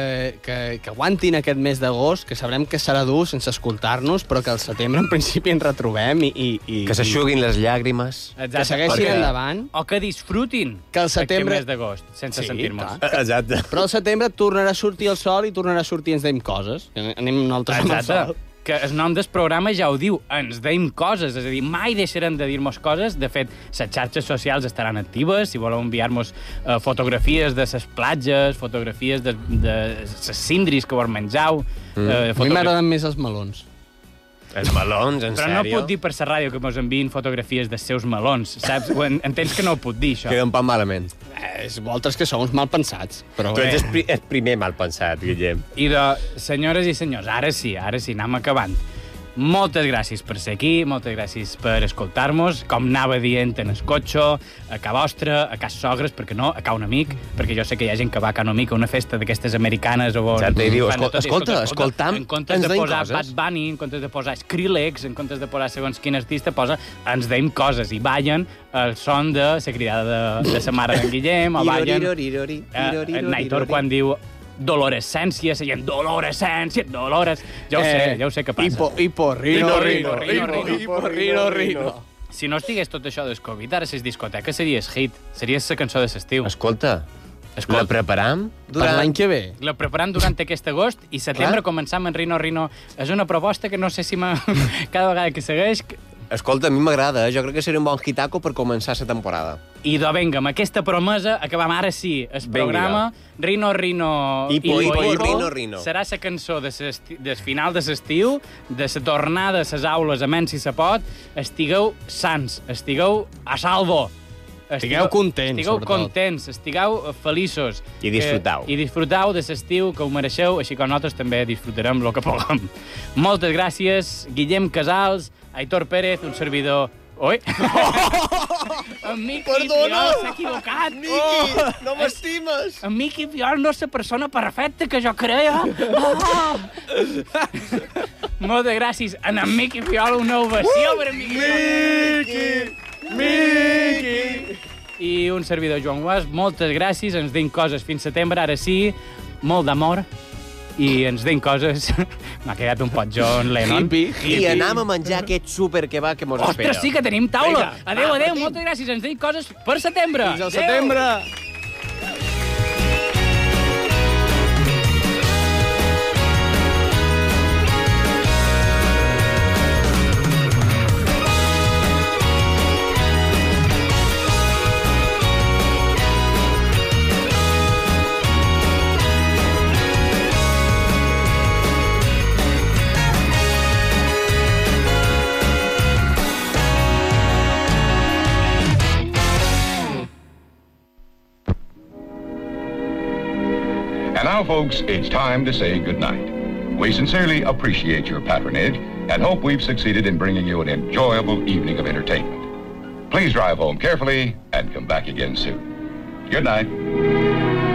S7: que, que aguantin aquest mes d'agost, que sabrem que serà dur sense escoltar-nos, però que al setembre en principi ens retrobem i... i, i
S4: Que s'aixuguin les llàgrimes.
S7: Que segueixin
S6: perquè-
S7: endavant.
S6: O que disfrutin
S7: Que al
S6: aquest
S7: setembre-
S6: mes d'agost, sense
S7: Sí,
S6: sentir-nos.
S7: clar.
S4: Eh, Exacte.
S7: Però al setembre tornarà a sortir el sol i tornarà a sortir ens deim coses. Que Anem nosaltres amb el sol.
S6: Exacte. Que el nom del programa ja ho diu, ens deim coses, és a dir, mai deixarem de dir-nos coses. De fet, les xarxes socials estaran actives, si voleu enviar-nos eh, fotografies de les platges, fotografies de, de les cindris que vos mengeu... eh,
S7: Mm. A mi
S6: fotogra-
S7: m'agraden més els melons.
S4: Els melons, en
S6: Però no
S4: sèrio?
S6: puc dir per la ràdio que mos enviïn fotografies dels seus melons, saps? Ho en- Entens que no ho puc dir, això?
S4: Queda un pan malament.
S7: Eh, és voltes que som uns mal pensats. Però
S4: Tu
S6: bé.
S4: ets el, pri el primer mal pensat, Guillem.
S6: I de senyores i senyors, ara sí, ara sí, anem acabant. Moltes gràcies per ser aquí, moltes gràcies per escoltar-nos, com anava dient en el cotxe, a ca vostra, a cas sogres, perquè no, a ca un amic, perquè jo sé que hi ha gent que va a ca un amic a una festa d'aquestes americanes o... on
S4: Exacte, i diu,
S6: fan de tot, i
S4: "Escolta, escoltam,
S6: En comptes
S4: ens
S6: de
S4: deim
S6: posar
S4: coses."
S6: Bad Bunny, en comptes de posar Skrillex, en comptes de posar segons quin artista, posa ens deim coses i ballen el son de la cridada de, de sa mare d'en Guillem, o ballen...
S4: Irorirori,
S6: Eh,
S4: irorirori,
S6: en Naitor,
S4: irorirori.
S6: quan diu dolorescència, seient dolorescència, dolores... Ja ho sé,
S7: Eh,
S6: ja ho sé què passa.
S7: hipo, hipo, rino, rino, hipo, hipo, rino, rino.
S6: Si no estigués tot això del Covid, ara ses discoteques series hit, series la cançó de l'estiu.
S4: Escolta,
S6: Escolta.
S4: la preparam?
S7: Per l'any que ve.
S6: La preparant durant aquest agost i setembre començam en Rino Rino. És una proposta que no sé si m'ha... cada vegada que segueix...
S4: Escolta, a mi m'agrada, eh? jo crec que seria un bon hitaco per començar la temporada.
S6: I do, vinga, amb aquesta promesa acabam ara sí el
S4: Vinga.
S6: programa Rino Rino...
S4: Hipo, hipo, rino, rino.
S6: Serà la cançó de s'esti- del final de l'estiu, de la tornada a les aules, amens si se pot. Estigueu sants, estigueu a salvo.
S7: Estigueu contents,
S6: Estigueu
S7: sobretot.
S6: contents, estigueu eh, feliços.
S7: I disfrutau.
S6: Que, I disfrutau de l'estiu, que ho mereixeu, així com nosaltres també disfrutarem el que puguem. Moltes gràcies, Guillem Casals, Aitor Pérez, un servidor... Oi? En Miqui
S17: Perdona!
S6: Piol s'ha equivocat. Oh!
S17: Miqui,
S4: Oh!
S6: no m'estimes. En Miqui Piol no és la persona perfecta que jo creia. Ah! Moltes gràcies. En en Miqui Piol, una ovació per en Miqui Piol. Miqui! I un servidor, Joan Guas. Moltes gràcies. Ens deim coses fins setembre, ara sí. Molt d'amor. I ens deim coses... M'ha quedat un pot John Lennon.
S4: I anam a menjar aquest súper que va que mos espera.
S6: Ostres, sí que tenim taula.
S4: Vinga,
S6: Adéu,
S4: va,
S6: adéu,
S4: partim.
S6: moltes gràcies. Ens deim coses per setembre.
S7: Fins al
S6: Adéu.
S7: setembre!
S18: And now, folks, it's time to say goodnight. We sincerely appreciate your patronage and hope we've succeeded in bringing you an enjoyable evening of entertainment. Please drive home carefully and come back again soon. Good night.